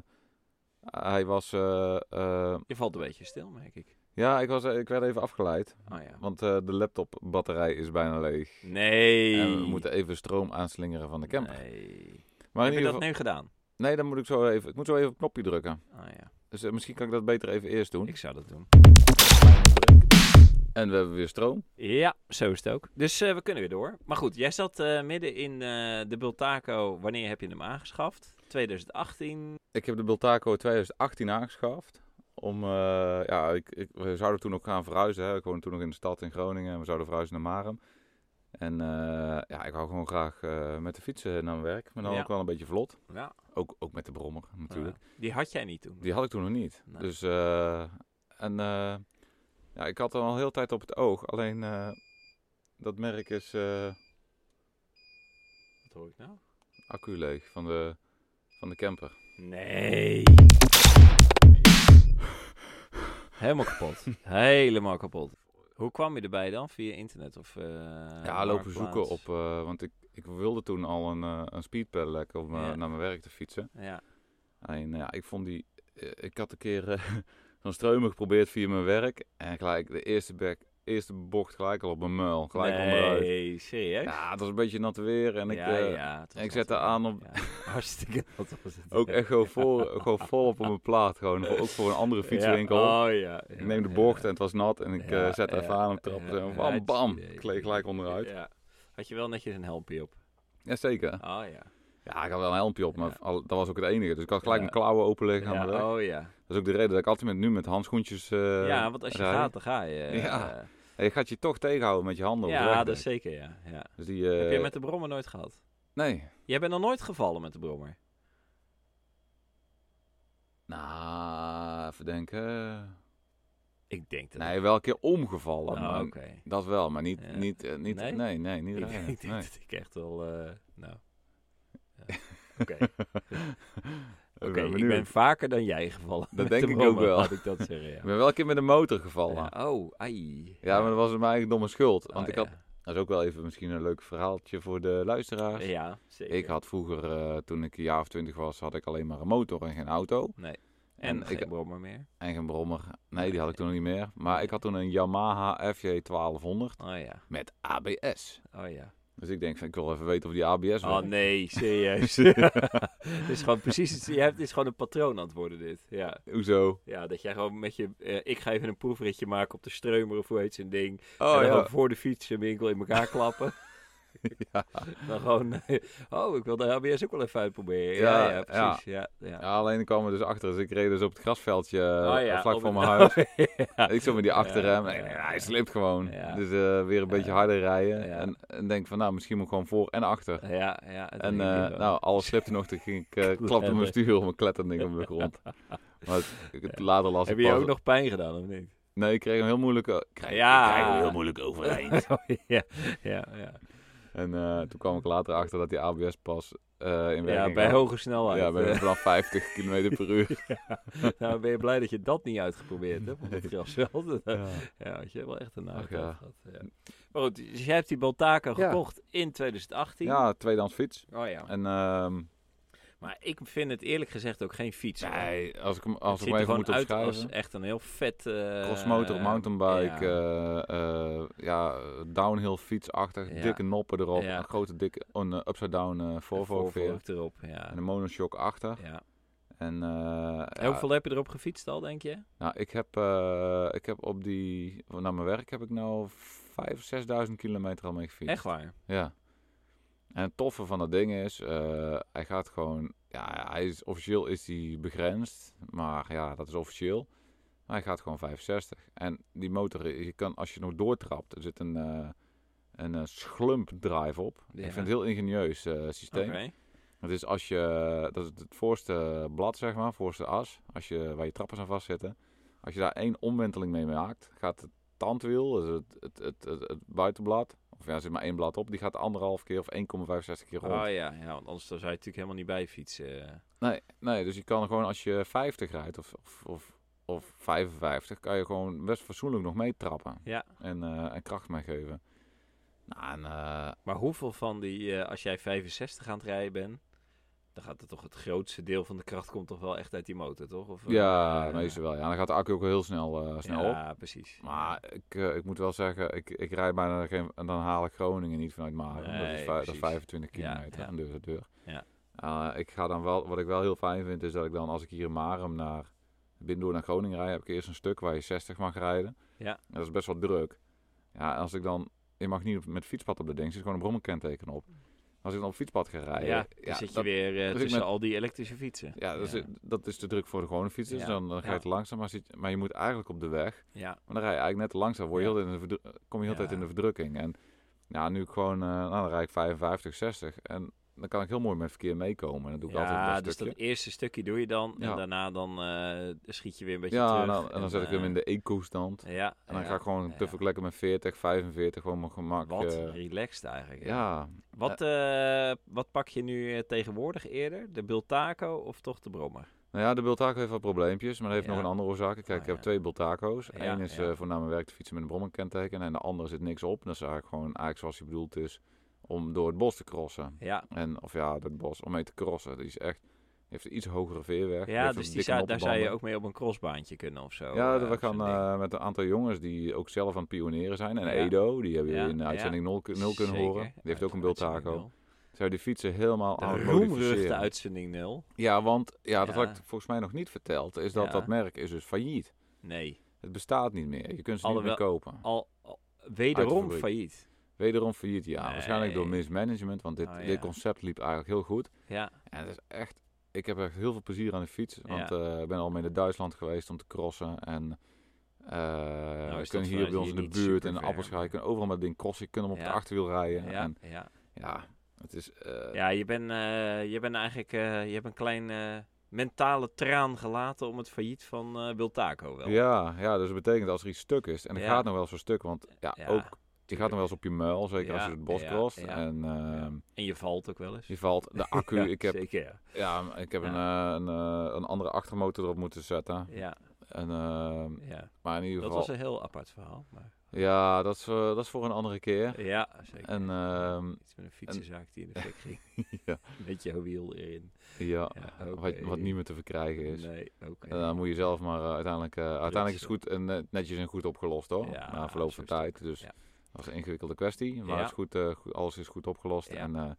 [SPEAKER 2] hij was. eh, eh,
[SPEAKER 1] je valt een beetje stil, merk ik.
[SPEAKER 2] ja, ik, was, eh, ik werd even afgeleid.
[SPEAKER 1] Oh ja.
[SPEAKER 2] Want eh, de laptopbatterij is bijna leeg.
[SPEAKER 1] Nee.
[SPEAKER 2] En we moeten even stroom aanslingeren van de camper.
[SPEAKER 1] Nee.
[SPEAKER 2] Maar in
[SPEAKER 1] heb je
[SPEAKER 2] ieder
[SPEAKER 1] dat
[SPEAKER 2] geval,
[SPEAKER 1] nu gedaan?
[SPEAKER 2] nee, dan moet ik zo even. Ik moet zo even op het knopje drukken.
[SPEAKER 1] Ah ja,
[SPEAKER 2] Dus eh, misschien kan ik dat beter even eerst doen.
[SPEAKER 1] ik zou dat doen.
[SPEAKER 2] En we hebben weer stroom.
[SPEAKER 1] Ja, zo is het ook. Dus eh, we kunnen weer door. Maar goed, jij zat eh, midden in eh, de Bultaco. Wanneer heb je hem aangeschaft? 2018.
[SPEAKER 2] Ik heb de Bultaco 2018 aangeschaft. Om, eh, ja, ik, ik, we zouden toen ook gaan verhuizen. Hè. Ik woonde toen nog in de stad in Groningen en we zouden verhuizen naar Marem. En eh, ja, ik wou gewoon graag eh, met de fiets eh, naar mijn werk. Maar dan
[SPEAKER 1] Ja.
[SPEAKER 2] ook wel een beetje vlot.
[SPEAKER 1] Ja,
[SPEAKER 2] Ook, ook met de brommer natuurlijk.
[SPEAKER 1] Ah, die had jij niet toen.
[SPEAKER 2] Die had ik toen nog niet.
[SPEAKER 1] Nee.
[SPEAKER 2] Dus, eh, en eh, ja, ik had hem al heel de tijd op het oog. Alleen eh, dat merk is eh,
[SPEAKER 1] Wat hoor ik nou?
[SPEAKER 2] accu leeg van de, van de camper.
[SPEAKER 1] Nee. Helemaal kapot. Helemaal kapot. Hoe kwam je erbij dan? Via internet of eh,
[SPEAKER 2] Ja, lopen
[SPEAKER 1] Marktplaats?
[SPEAKER 2] zoeken op. eh, want ik, ik wilde toen al een, eh een speedpedelec om eh,
[SPEAKER 1] Ja.
[SPEAKER 2] naar mijn werk te fietsen.
[SPEAKER 1] Ja,
[SPEAKER 2] En ja, ik vond die. eh, ik had een keer eh zo'n streumer geprobeerd via mijn werk. En gelijk de eerste, bek, eerste bocht gelijk al op mijn muil. Gelijk onderuit.
[SPEAKER 1] nee, serieus?
[SPEAKER 2] Ja, het was een beetje nat weer. En ik,
[SPEAKER 1] ja,
[SPEAKER 2] eh,
[SPEAKER 1] ja, het was
[SPEAKER 2] ik
[SPEAKER 1] nat
[SPEAKER 2] zette
[SPEAKER 1] weer.
[SPEAKER 2] aan op-
[SPEAKER 1] Ja, hartstikke nat was het.
[SPEAKER 2] eh, ook echt gewoon vol, gewoon vol op op mijn plaat. Gewoon, ook voor een andere fietswinkel.
[SPEAKER 1] Ja, oh ja. ja,
[SPEAKER 2] ik neem de
[SPEAKER 1] ja.
[SPEAKER 2] bocht en het was nat. En ik
[SPEAKER 1] Ja,
[SPEAKER 2] eh, zette
[SPEAKER 1] ja,
[SPEAKER 2] even aan op trap.
[SPEAKER 1] ja,
[SPEAKER 2] en bam, bam.
[SPEAKER 1] ja, ja,
[SPEAKER 2] Gleed gelijk onderuit.
[SPEAKER 1] Ja. Had je wel netjes een helmpje op?
[SPEAKER 2] Jazeker.
[SPEAKER 1] Oh ja.
[SPEAKER 2] Ja, ik had wel een helmpje op, maar
[SPEAKER 1] Ja.
[SPEAKER 2] al- dat was ook het enige. Dus ik had gelijk
[SPEAKER 1] Ja.
[SPEAKER 2] mijn klauwen open liggen aan
[SPEAKER 1] ja
[SPEAKER 2] mijn werk.
[SPEAKER 1] oh ja.
[SPEAKER 2] Dat is ook de reden dat ik altijd met, nu met handschoentjes eh
[SPEAKER 1] ja, want als je
[SPEAKER 2] rij.
[SPEAKER 1] gaat, dan ga je. eh,
[SPEAKER 2] Ja. Je gaat je toch tegenhouden met je handen. op de
[SPEAKER 1] Ja,
[SPEAKER 2] weg,
[SPEAKER 1] dat
[SPEAKER 2] denk ik.
[SPEAKER 1] zeker, ja. ja.
[SPEAKER 2] Dus die, eh,
[SPEAKER 1] Heb je met de brommer nooit gehad?
[SPEAKER 2] Nee.
[SPEAKER 1] Jij bent nog nooit gevallen met de brommer.
[SPEAKER 2] Nou, even denken.
[SPEAKER 1] Ik denk dat...
[SPEAKER 2] Nee, wel een keer omgevallen.
[SPEAKER 1] Oh,
[SPEAKER 2] maar-
[SPEAKER 1] oké.
[SPEAKER 2] Dat wel, maar niet...
[SPEAKER 1] Ja.
[SPEAKER 2] niet, eh, niet
[SPEAKER 1] Nee?
[SPEAKER 2] nee? nee, niet
[SPEAKER 1] Ik,
[SPEAKER 2] rijden.
[SPEAKER 1] ik denk
[SPEAKER 2] Nee.
[SPEAKER 1] dat ik echt wel... eh, nou... ja. Oké,
[SPEAKER 2] ben
[SPEAKER 1] oké, ik
[SPEAKER 2] benieuwd.
[SPEAKER 1] ben vaker dan jij gevallen. met
[SPEAKER 2] denk
[SPEAKER 1] de
[SPEAKER 2] ik ook
[SPEAKER 1] brommer,
[SPEAKER 2] wel.
[SPEAKER 1] Laat ik dat zeggen, ja.
[SPEAKER 2] Ik ben wel een keer met een motor gevallen.
[SPEAKER 1] Ja,
[SPEAKER 2] Ja,
[SPEAKER 1] Oh, ai.
[SPEAKER 2] maar dat was mijn eigen domme schuld.
[SPEAKER 1] Oh,
[SPEAKER 2] Want ik
[SPEAKER 1] ja.
[SPEAKER 2] had... Dat is ook wel even misschien een leuk verhaaltje voor de luisteraars.
[SPEAKER 1] Ja, zeker.
[SPEAKER 2] Ik had vroeger, eh, toen ik een jaar of twintig was, had ik alleen maar een motor en geen auto.
[SPEAKER 1] Nee. En,
[SPEAKER 2] En,
[SPEAKER 1] geen
[SPEAKER 2] ik,
[SPEAKER 1] brommer meer.
[SPEAKER 2] en geen brommer. Nee, die had ik toen nog niet meer. Maar ik had toen een Yamaha FJ 1200
[SPEAKER 1] Oh ja,
[SPEAKER 2] met ABS.
[SPEAKER 1] oh ja.
[SPEAKER 2] Dus ik denk, van, ik wil even weten of die ABS
[SPEAKER 1] Oh
[SPEAKER 2] werkt.
[SPEAKER 1] nee, serieus. het is gewoon precies, het, je hebt, het is gewoon een patroon aan het worden dit. Ja.
[SPEAKER 2] Hoezo?
[SPEAKER 1] ja, dat jij gewoon met je, eh, ik ga even een proefritje maken op de streumer of hoe heet zo'n ding. en
[SPEAKER 2] Oh
[SPEAKER 1] dan
[SPEAKER 2] ja.
[SPEAKER 1] gewoon voor de fiets een winkel in elkaar klappen. Dan gewoon, eh, oh, ik wil de HBS ook wel even uitproberen. Ja,
[SPEAKER 2] Ja,
[SPEAKER 1] ja, precies. Ja, ja.
[SPEAKER 2] Ja, alleen kwam er dus achter. Dus ik reed dus op het grasveldje eh,
[SPEAKER 1] Oh ja,
[SPEAKER 2] vlak
[SPEAKER 1] op
[SPEAKER 2] voor
[SPEAKER 1] het-
[SPEAKER 2] mijn huis.
[SPEAKER 1] Ja.
[SPEAKER 2] Ik zat met die achterrem.
[SPEAKER 1] Ja,
[SPEAKER 2] en ik denk,
[SPEAKER 1] ja,
[SPEAKER 2] hij
[SPEAKER 1] ja.
[SPEAKER 2] slipt gewoon.
[SPEAKER 1] Ja.
[SPEAKER 2] Dus eh, weer een beetje
[SPEAKER 1] Ja.
[SPEAKER 2] harder rijden.
[SPEAKER 1] Ja.
[SPEAKER 2] En, en denk van, nou, misschien moet ik gewoon voor en achter.
[SPEAKER 1] Ja, ja. het
[SPEAKER 2] En
[SPEAKER 1] ging
[SPEAKER 2] eh,
[SPEAKER 1] niet wel.
[SPEAKER 2] nou, alles slipte nog. Toen ging ik, eh, klapte mijn
[SPEAKER 1] Kletter.
[SPEAKER 2] stuur om en kletterde ding op de grond. Maar het, ik- het later las
[SPEAKER 1] Heb
[SPEAKER 2] ik
[SPEAKER 1] je
[SPEAKER 2] pas...
[SPEAKER 1] ook nog pijn gedaan of niet?
[SPEAKER 2] Nee, ik kreeg hem heel moeilijk... o- ik Kreeg,
[SPEAKER 1] Ja.
[SPEAKER 2] ik kreeg hem heel moeilijk overeind.
[SPEAKER 1] ja, ja, ja.
[SPEAKER 2] en eh, toen kwam ik later achter dat die ABS pas eh, in werking
[SPEAKER 1] ja bij
[SPEAKER 2] had.
[SPEAKER 1] hoge snelheid. Eh,
[SPEAKER 2] Ja, bij vanaf 50 km per uur.
[SPEAKER 1] Nou, ben je blij dat je dat niet uitgeprobeerd hebt op het grasveld?
[SPEAKER 2] Ja.
[SPEAKER 1] Ja, had je wel echt een
[SPEAKER 2] Ach,
[SPEAKER 1] nadeel
[SPEAKER 2] ja.
[SPEAKER 1] gehad. Ja. Maar goed, dus jij hebt die Baltaca
[SPEAKER 2] Ja.
[SPEAKER 1] gekocht in 2018.
[SPEAKER 2] ja, tweedehands fiets.
[SPEAKER 1] Oh ja.
[SPEAKER 2] En ehm,
[SPEAKER 1] Maar ik vind het eerlijk gezegd ook geen fiets. hoor.
[SPEAKER 2] nee, als ik hem
[SPEAKER 1] Het
[SPEAKER 2] als ik
[SPEAKER 1] ziet
[SPEAKER 2] hem
[SPEAKER 1] er
[SPEAKER 2] even
[SPEAKER 1] gewoon
[SPEAKER 2] moet
[SPEAKER 1] uit
[SPEAKER 2] opschrijven...
[SPEAKER 1] als echt een heel vet... eh,
[SPEAKER 2] Crossmotor, mountainbike,
[SPEAKER 1] ja.
[SPEAKER 2] eh, eh, ja, downhill fietsachtig,
[SPEAKER 1] Ja.
[SPEAKER 2] dikke noppen erop,
[SPEAKER 1] Ja.
[SPEAKER 2] een grote dikke een eh, upside-down eh
[SPEAKER 1] Een
[SPEAKER 2] voorvorkveer
[SPEAKER 1] voorvork erop, ja.
[SPEAKER 2] en een monoshock achter.
[SPEAKER 1] ja.
[SPEAKER 2] En eh,
[SPEAKER 1] En
[SPEAKER 2] ja,
[SPEAKER 1] hoeveel heb je erop gefietst al, denk je?
[SPEAKER 2] nou, ik heb, eh, ik heb op die naar mijn werk heb ik nou vijf of 6.000 kilometer al mee gefietst.
[SPEAKER 1] Echt waar?
[SPEAKER 2] Ja. En het toffe van dat ding is, eh, hij gaat gewoon, ja, hij is, officieel is hij begrensd, maar ja, dat is officieel. Hij gaat gewoon 65. En die motor, eh, je kan, als je nog doortrapt, er zit een, eh een eh, slump drive op.
[SPEAKER 1] Ja.
[SPEAKER 2] Ik vind het een heel ingenieus eh, systeem.
[SPEAKER 1] Oké.
[SPEAKER 2] Dat is als je, dat is het voorste blad zeg maar, voorste as, als je, waar je trappers aan vastzitten. Als je daar één omwenteling mee maakt, gaat het tandwiel, dus het, het, het, het, het buitenblad, of ja, er zit maar één blad op, die gaat anderhalf keer of 1,65 keer rond.
[SPEAKER 1] Oh ja, ja, want anders dan zou je natuurlijk helemaal niet bij fietsen.
[SPEAKER 2] nee, nee, dus je kan gewoon als je 50 rijdt of, of, of, of 55, kan je gewoon best fatsoenlijk nog mee trappen
[SPEAKER 1] Ja.
[SPEAKER 2] en, eh, en kracht mee geven. Nou, en, eh,
[SPEAKER 1] Maar hoeveel van die, eh, als jij 65 aan het rijden bent, dan gaat er toch het grootste deel van de kracht komt toch wel echt uit die motor, toch? Of, eh,
[SPEAKER 2] ja,
[SPEAKER 1] eh,
[SPEAKER 2] meestal wel. Ja, dan gaat de accu ook wel heel snel, eh, snel op.
[SPEAKER 1] ja, precies.
[SPEAKER 2] Maar ik, eh, ik moet wel zeggen, ik, ik rijd bijna geen, en dan haal ik Groningen niet vanuit Maren. dat,
[SPEAKER 1] Nee,
[SPEAKER 2] is vij- dat is
[SPEAKER 1] precies.
[SPEAKER 2] 25
[SPEAKER 1] Ja,
[SPEAKER 2] kilometer
[SPEAKER 1] ja.
[SPEAKER 2] aan deur tot deur.
[SPEAKER 1] Ja.
[SPEAKER 2] Eh, ik ga dan wel, wat ik wel heel fijn vind, is dat ik dan als ik hier in Marum naar binnendoor naar Groningen rijd, heb ik eerst een stuk waar je 60 mag rijden.
[SPEAKER 1] Ja.
[SPEAKER 2] En dat is best wel druk. Ja, en als ik dan, je mag niet op, met fietspad op de ding, er zit gewoon een brommerkenteken op. Als ik dan op fietspad ga rijden,
[SPEAKER 1] ja, dan zit je
[SPEAKER 2] dat-
[SPEAKER 1] weer eh,
[SPEAKER 2] dus ik
[SPEAKER 1] tussen
[SPEAKER 2] met-
[SPEAKER 1] al die elektrische fietsen.
[SPEAKER 2] ja, dat,
[SPEAKER 1] ja.
[SPEAKER 2] Is, dat is te druk voor de gewone fietsers. dus
[SPEAKER 1] Ja.
[SPEAKER 2] Dan, dan ga je
[SPEAKER 1] Ja.
[SPEAKER 2] te langzaam, maar, zit, maar je moet eigenlijk op de weg.
[SPEAKER 1] Ja,
[SPEAKER 2] Maar dan rij je eigenlijk net te langzaam, word je
[SPEAKER 1] Ja.
[SPEAKER 2] heel in de verdru- eh, kom je heel de tijd
[SPEAKER 1] Ja.
[SPEAKER 2] in de verdrukking. En ja, nu ik gewoon, eh, nou, dan rijd ik 55, 60. En dan kan ik heel mooi met verkeer meekomen. En dat doe ik altijd
[SPEAKER 1] ja
[SPEAKER 2] altijd een
[SPEAKER 1] dus dat
[SPEAKER 2] stukje.
[SPEAKER 1] eerste stukje doe je dan en
[SPEAKER 2] Ja.
[SPEAKER 1] daarna dan eh, schiet je weer een beetje
[SPEAKER 2] ja,
[SPEAKER 1] terug.
[SPEAKER 2] nou, en dan zet ik hem in de eco-stand.
[SPEAKER 1] eh, Ja.
[SPEAKER 2] En dan
[SPEAKER 1] ja.
[SPEAKER 2] ga ik gewoon
[SPEAKER 1] ja.
[SPEAKER 2] te lekker met 40, 45, gewoon mijn gemak.
[SPEAKER 1] Wat
[SPEAKER 2] eh,
[SPEAKER 1] relaxed eigenlijk. ja.
[SPEAKER 2] ja,
[SPEAKER 1] Wat, eh, wat pak je nu eh, tegenwoordig eerder? De Bultaco of toch de Brommer?
[SPEAKER 2] nou ja, de Bultaco heeft wat probleempjes, maar dat heeft
[SPEAKER 1] Ja.
[SPEAKER 2] nog een andere oorzaak. Kijk,
[SPEAKER 1] Ah,
[SPEAKER 2] ik heb
[SPEAKER 1] ja.
[SPEAKER 2] twee Bultaco's.
[SPEAKER 1] Ja,
[SPEAKER 2] Eén is
[SPEAKER 1] ja.
[SPEAKER 2] eh, voor naar mijn werk te fietsen met een brommerkenteken. En de andere zit niks op. Dat is eigenlijk gewoon eigenlijk zoals hij bedoeld is om door het bos te crossen.
[SPEAKER 1] Ja,
[SPEAKER 2] En, of ja, dat bos om mee te crossen. Die is echt, die heeft een iets hogere veerweg. die
[SPEAKER 1] ja
[SPEAKER 2] heeft een
[SPEAKER 1] dus die
[SPEAKER 2] dikke
[SPEAKER 1] zou, daar zou je
[SPEAKER 2] noppenbanden.
[SPEAKER 1] ook mee op een crossbaantje kunnen of zo.
[SPEAKER 2] Ja,
[SPEAKER 1] eh,
[SPEAKER 2] we
[SPEAKER 1] op zo'n
[SPEAKER 2] gaan
[SPEAKER 1] ding.
[SPEAKER 2] eh, met een aantal jongens die ook zelf aan het pionieren zijn. En
[SPEAKER 1] Ja.
[SPEAKER 2] Edo, die hebben
[SPEAKER 1] Ja,
[SPEAKER 2] jullie in de
[SPEAKER 1] ja.
[SPEAKER 2] uitzending 0, kunnen
[SPEAKER 1] Zeker,
[SPEAKER 2] horen. Die heeft ook een
[SPEAKER 1] uitzending
[SPEAKER 2] Bultaco.
[SPEAKER 1] nul.
[SPEAKER 2] Zou die fietsen helemaal aan
[SPEAKER 1] De
[SPEAKER 2] het
[SPEAKER 1] roemruchte
[SPEAKER 2] modificeren.
[SPEAKER 1] uitzending 0.
[SPEAKER 2] Ja, want ja, dat
[SPEAKER 1] Ja.
[SPEAKER 2] had ik volgens mij nog niet verteld. Is dat
[SPEAKER 1] Ja.
[SPEAKER 2] dat merk is dus failliet.
[SPEAKER 1] Nee,
[SPEAKER 2] Het bestaat niet meer. Je kunt ze niet meer
[SPEAKER 1] Alhoewel-
[SPEAKER 2] kopen.
[SPEAKER 1] al, al-
[SPEAKER 2] Uit de
[SPEAKER 1] wederom
[SPEAKER 2] fabriek.
[SPEAKER 1] failliet.
[SPEAKER 2] Wederom failliet, ja. Waarschijnlijk door
[SPEAKER 1] Nee.
[SPEAKER 2] mismanagement, want dit,
[SPEAKER 1] Oh, ja.
[SPEAKER 2] dit concept liep eigenlijk heel goed.
[SPEAKER 1] Ja,
[SPEAKER 2] En het is echt, ik heb echt heel veel plezier aan de fiets.
[SPEAKER 1] Ja.
[SPEAKER 2] Want eh, ik ben al mee naar Duitsland geweest om te crossen. En Eh,
[SPEAKER 1] Nou, is
[SPEAKER 2] we
[SPEAKER 1] dat
[SPEAKER 2] kunnen hier
[SPEAKER 1] vanuit
[SPEAKER 2] bij ons
[SPEAKER 1] hier
[SPEAKER 2] in de
[SPEAKER 1] niet
[SPEAKER 2] buurt en
[SPEAKER 1] superver,
[SPEAKER 2] Appelschaal. Je
[SPEAKER 1] maar-
[SPEAKER 2] kunt overal met ding crossen. Je kunt hem op
[SPEAKER 1] Ja.
[SPEAKER 2] de achterwiel rijden.
[SPEAKER 1] Ja,
[SPEAKER 2] En,
[SPEAKER 1] ja.
[SPEAKER 2] ja het is... eh,
[SPEAKER 1] ja je bent eh, je bent eigenlijk eh, je hebt een klein eh, mentale traan gelaten om het failliet van eh Biltaco wel.
[SPEAKER 2] Ja, ja, dus dat betekent als er iets stuk is. En het
[SPEAKER 1] Ja.
[SPEAKER 2] gaat nog wel zo stuk, want ja,
[SPEAKER 1] Ja,
[SPEAKER 2] ook, je gaat nog wel eens op je muil,
[SPEAKER 1] Ja,
[SPEAKER 2] zeker als je door het bos
[SPEAKER 1] ja,
[SPEAKER 2] crost.
[SPEAKER 1] ja.
[SPEAKER 2] En ehm,
[SPEAKER 1] En je valt ook wel eens.
[SPEAKER 2] je valt de accu.
[SPEAKER 1] Ja,
[SPEAKER 2] ik heb,
[SPEAKER 1] Zeker, ja.
[SPEAKER 2] ja, ik heb een, eh, een, eh, een andere achtermotor erop moeten zetten.
[SPEAKER 1] ja,
[SPEAKER 2] En, ehm,
[SPEAKER 1] ja.
[SPEAKER 2] maar in ieder
[SPEAKER 1] Dat
[SPEAKER 2] geval,
[SPEAKER 1] was een heel apart verhaal. Maar,
[SPEAKER 2] ja, dat is, eh, dat is voor een andere keer.
[SPEAKER 1] ja, zeker.
[SPEAKER 2] En ehm,
[SPEAKER 1] Iets met een fietsenzaak die in de fik ging.
[SPEAKER 2] Ja.
[SPEAKER 1] Met je wiel erin.
[SPEAKER 2] ja,
[SPEAKER 1] Ja,
[SPEAKER 2] wat,
[SPEAKER 1] oké.
[SPEAKER 2] wat niet meer te verkrijgen is.
[SPEAKER 1] Nee, oké.
[SPEAKER 2] En dan moet je zelf maar eh, uiteindelijk... eh, uiteindelijk is het goed en net- netjes en goed opgelost, hoor.
[SPEAKER 1] Ja,
[SPEAKER 2] na verloop van
[SPEAKER 1] zo is het
[SPEAKER 2] tijd. Dus
[SPEAKER 1] Ja.
[SPEAKER 2] dat was een ingewikkelde kwestie. Maar
[SPEAKER 1] Ja.
[SPEAKER 2] het is goed, eh, goed- alles is goed opgelost.
[SPEAKER 1] Ja.
[SPEAKER 2] En, eh,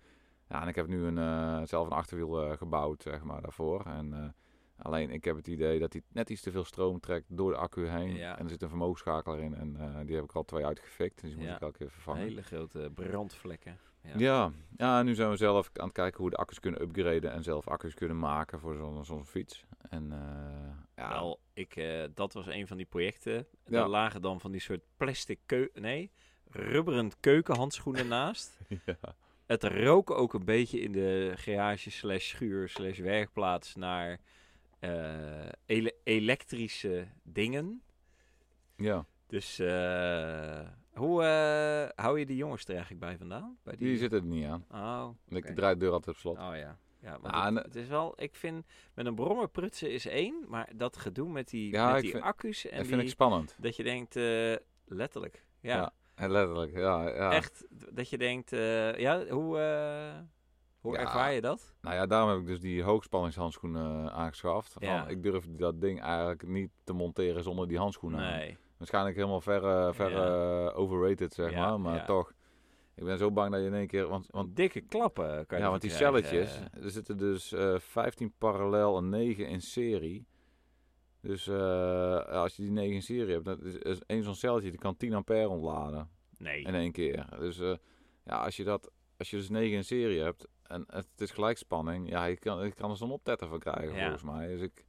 [SPEAKER 2] ja, en ik heb nu een, eh, zelf een achterwiel eh, gebouwd, zeg maar, daarvoor. En, eh, alleen ik heb het idee dat hij net iets te veel stroom trekt door de accu heen.
[SPEAKER 1] Ja.
[SPEAKER 2] En er zit een vermogenschakelaar in. En eh, die heb ik er al twee uitgefikt. Dus die moet
[SPEAKER 1] Ja.
[SPEAKER 2] ik elke keer vervangen.
[SPEAKER 1] Hele grote brandvlekken. Ja.
[SPEAKER 2] Ja. Ja. en nu zijn we zelf aan het kijken hoe we de accu's kunnen upgraden en zelf accu's kunnen maken voor zo'n zo'n fiets. En eh, ja,
[SPEAKER 1] Wel, ik, eh, dat was een van die projecten.
[SPEAKER 2] Ja.
[SPEAKER 1] Daar lagen dan van die soort plastic keu nee, rubberend keukenhandschoenen naast.
[SPEAKER 2] ja.
[SPEAKER 1] Het rook ook een beetje in de garage slash schuur slash werkplaats naar eh, ele- elektrische dingen.
[SPEAKER 2] Ja.
[SPEAKER 1] Dus eh, hoe eh, hou je die jongens er eigenlijk bij vandaan? Bij
[SPEAKER 2] die zit er niet aan.
[SPEAKER 1] Oh,
[SPEAKER 2] Ik
[SPEAKER 1] Oké.
[SPEAKER 2] draai de deur altijd op slot.
[SPEAKER 1] oh ja. Ja, want
[SPEAKER 2] Ah, en,
[SPEAKER 1] het,
[SPEAKER 2] eh,
[SPEAKER 1] het is wel, ik vind, met een brommer prutsen is één, maar dat gedoe met die,
[SPEAKER 2] Ja,
[SPEAKER 1] met
[SPEAKER 2] ik
[SPEAKER 1] die
[SPEAKER 2] vind-
[SPEAKER 1] accu's en
[SPEAKER 2] dat
[SPEAKER 1] die...
[SPEAKER 2] vind ik spannend.
[SPEAKER 1] Dat je denkt, eh, letterlijk. Ja,
[SPEAKER 2] Ja, En letterlijk, ja. ja.
[SPEAKER 1] echt. d- Dat je denkt, eh, ja, hoe, eh, hoe
[SPEAKER 2] Ja.
[SPEAKER 1] ervaar je dat?
[SPEAKER 2] Nou ja, daarom heb ik dus die hoogspanningshandschoenen eh, aangeschaft. Van,
[SPEAKER 1] Ja.
[SPEAKER 2] Ik durf dat ding eigenlijk niet te monteren zonder die handschoenen aan.
[SPEAKER 1] Nee.
[SPEAKER 2] Waarschijnlijk helemaal ver, eh, ver eh, overrated, zeg
[SPEAKER 1] Ja,
[SPEAKER 2] maar. Maar
[SPEAKER 1] ja.
[SPEAKER 2] toch, ik ben zo bang dat je in één keer... Want, want
[SPEAKER 1] Want dikke klappen kan je
[SPEAKER 2] ja,
[SPEAKER 1] ervan
[SPEAKER 2] want die
[SPEAKER 1] krijgen.
[SPEAKER 2] celletjes, er zitten dus eh 15 parallel en 9 in serie. Dus eh, als je die 9 in serie hebt, dan is, is één zo'n celletje, die kan 10 ampère ontladen
[SPEAKER 1] Nee.
[SPEAKER 2] in één keer. Dus eh, ja, als je, dat, als je dus 9 in serie hebt en het is gelijkspanning, ja, je kan, je kan er zo'n optetter van krijgen
[SPEAKER 1] Ja.
[SPEAKER 2] volgens mij. Dus ik,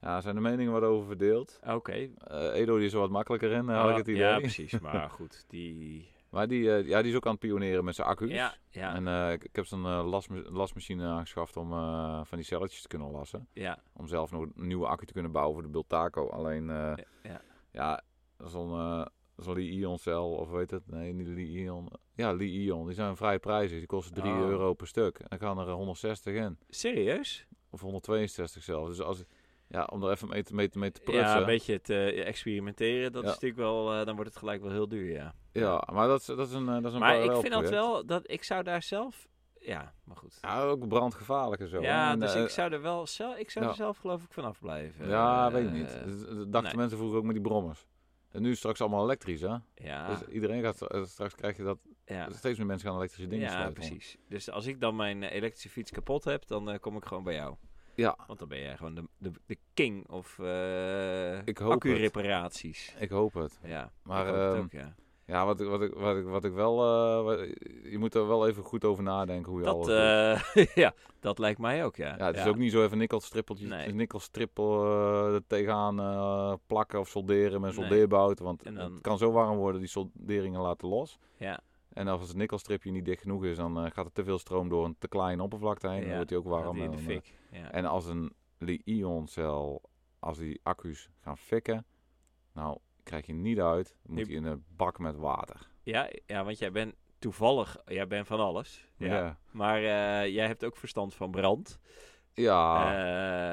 [SPEAKER 2] ja, er zijn de meningen wat over verdeeld.
[SPEAKER 1] Oké.
[SPEAKER 2] Eh, Edo die is er wat makkelijker in, eh, had ik
[SPEAKER 1] Ah,
[SPEAKER 2] het idee.
[SPEAKER 1] Ja, precies. Maar goed, die...
[SPEAKER 2] Maar die, eh, ja, die is ook aan het pioneren met zijn accu's.
[SPEAKER 1] Ja, ja,
[SPEAKER 2] En eh, ik, ik heb zo'n eh, lasma- lasmachine aangeschaft om eh, van die celletjes te kunnen lassen.
[SPEAKER 1] ja,
[SPEAKER 2] Om zelf nog een nieuwe accu te kunnen bouwen voor de Bultaco. Alleen, eh,
[SPEAKER 1] ja.
[SPEAKER 2] ja, zo'n eh, zo'n Li-Ion cel of weet het? Nee, niet Li-Ion. Ja, Li-Ion. Die zijn vrij prijzig. Die kosten 3
[SPEAKER 1] Oh.
[SPEAKER 2] euro per stuk. En dan gaan er eh, 160 in.
[SPEAKER 1] Serieus?
[SPEAKER 2] Of 162 zelfs. Dus als, ja, om er even mee te, mee, te- mee te prutsen.
[SPEAKER 1] Ja, een beetje het eh, experimenteren, dat
[SPEAKER 2] Ja.
[SPEAKER 1] is natuurlijk wel... eh, dan wordt het gelijk wel heel duur, ja.
[SPEAKER 2] Ja, maar dat is, dat is een, eh, dat is een
[SPEAKER 1] Maar ik
[SPEAKER 2] parallel
[SPEAKER 1] vind dat
[SPEAKER 2] project.
[SPEAKER 1] wel... Dat, ik zou daar zelf... Ja, maar goed.
[SPEAKER 2] Ja, ook brandgevaarlijk en zo.
[SPEAKER 1] Ja,
[SPEAKER 2] En,
[SPEAKER 1] dus
[SPEAKER 2] eh,
[SPEAKER 1] ik zou er wel zelf, ik zou
[SPEAKER 2] ja.
[SPEAKER 1] er zelf geloof ik vanaf blijven.
[SPEAKER 2] Ja,
[SPEAKER 1] Eh,
[SPEAKER 2] weet ik niet. Dus- Dat dat dachten
[SPEAKER 1] nee.
[SPEAKER 2] mensen vroeger ook met die brommers. En nu is het straks allemaal elektrisch, hè?
[SPEAKER 1] Ja,
[SPEAKER 2] Dus iedereen gaat eh, straks krijg je dat
[SPEAKER 1] Ah. ja.
[SPEAKER 2] steeds meer mensen gaan elektrische dingen
[SPEAKER 1] ja
[SPEAKER 2] sluiten.
[SPEAKER 1] precies. Dus als ik dan mijn eh, elektrische fiets kapot heb, dan eh, kom ik gewoon bij jou.
[SPEAKER 2] Ja,
[SPEAKER 1] Want dan ben jij gewoon de, de, de king of eh
[SPEAKER 2] Ik hoop het.
[SPEAKER 1] accu-reparaties.
[SPEAKER 2] ik hoop het.
[SPEAKER 1] Ja,
[SPEAKER 2] Maar
[SPEAKER 1] ik hoop het
[SPEAKER 2] ehm,
[SPEAKER 1] ook, ja.
[SPEAKER 2] ja, wat, ik- wat, ik, wat, ik, wat ik wel, eh, wat- je moet er wel even goed over nadenken hoe je
[SPEAKER 1] Dat,
[SPEAKER 2] alles doet.
[SPEAKER 1] eh, ja, dat lijkt mij ook, ja.
[SPEAKER 2] Ja, het is ook niet zo even nikkelstrippeltjes,
[SPEAKER 1] Nee.
[SPEAKER 2] nikkelstrippel eh, er tegenaan eh, plakken of solderen met een
[SPEAKER 1] Nee.
[SPEAKER 2] soldeerbout. Want
[SPEAKER 1] En dan-
[SPEAKER 2] het kan zo warm worden, die solderingen laten los.
[SPEAKER 1] Ja.
[SPEAKER 2] En als het nikkelstripje niet dicht genoeg is, dan eh, gaat er te veel stroom door een te kleine oppervlakte heen.
[SPEAKER 1] Ja,
[SPEAKER 2] Dan wordt die ook
[SPEAKER 1] gaat
[SPEAKER 2] warm.
[SPEAKER 1] die in de
[SPEAKER 2] en, dan, eh,
[SPEAKER 1] fik. Ja.
[SPEAKER 2] en als een Li-ion-cel, als die accu's gaan fikken, nou krijg je niet uit. Dan moet
[SPEAKER 1] Ik-
[SPEAKER 2] je in een bak met water.
[SPEAKER 1] Ja, ja, want jij bent toevallig, jij bent van alles. Ja.
[SPEAKER 2] ja.
[SPEAKER 1] Maar eh, jij hebt ook verstand van brand.
[SPEAKER 2] Ja,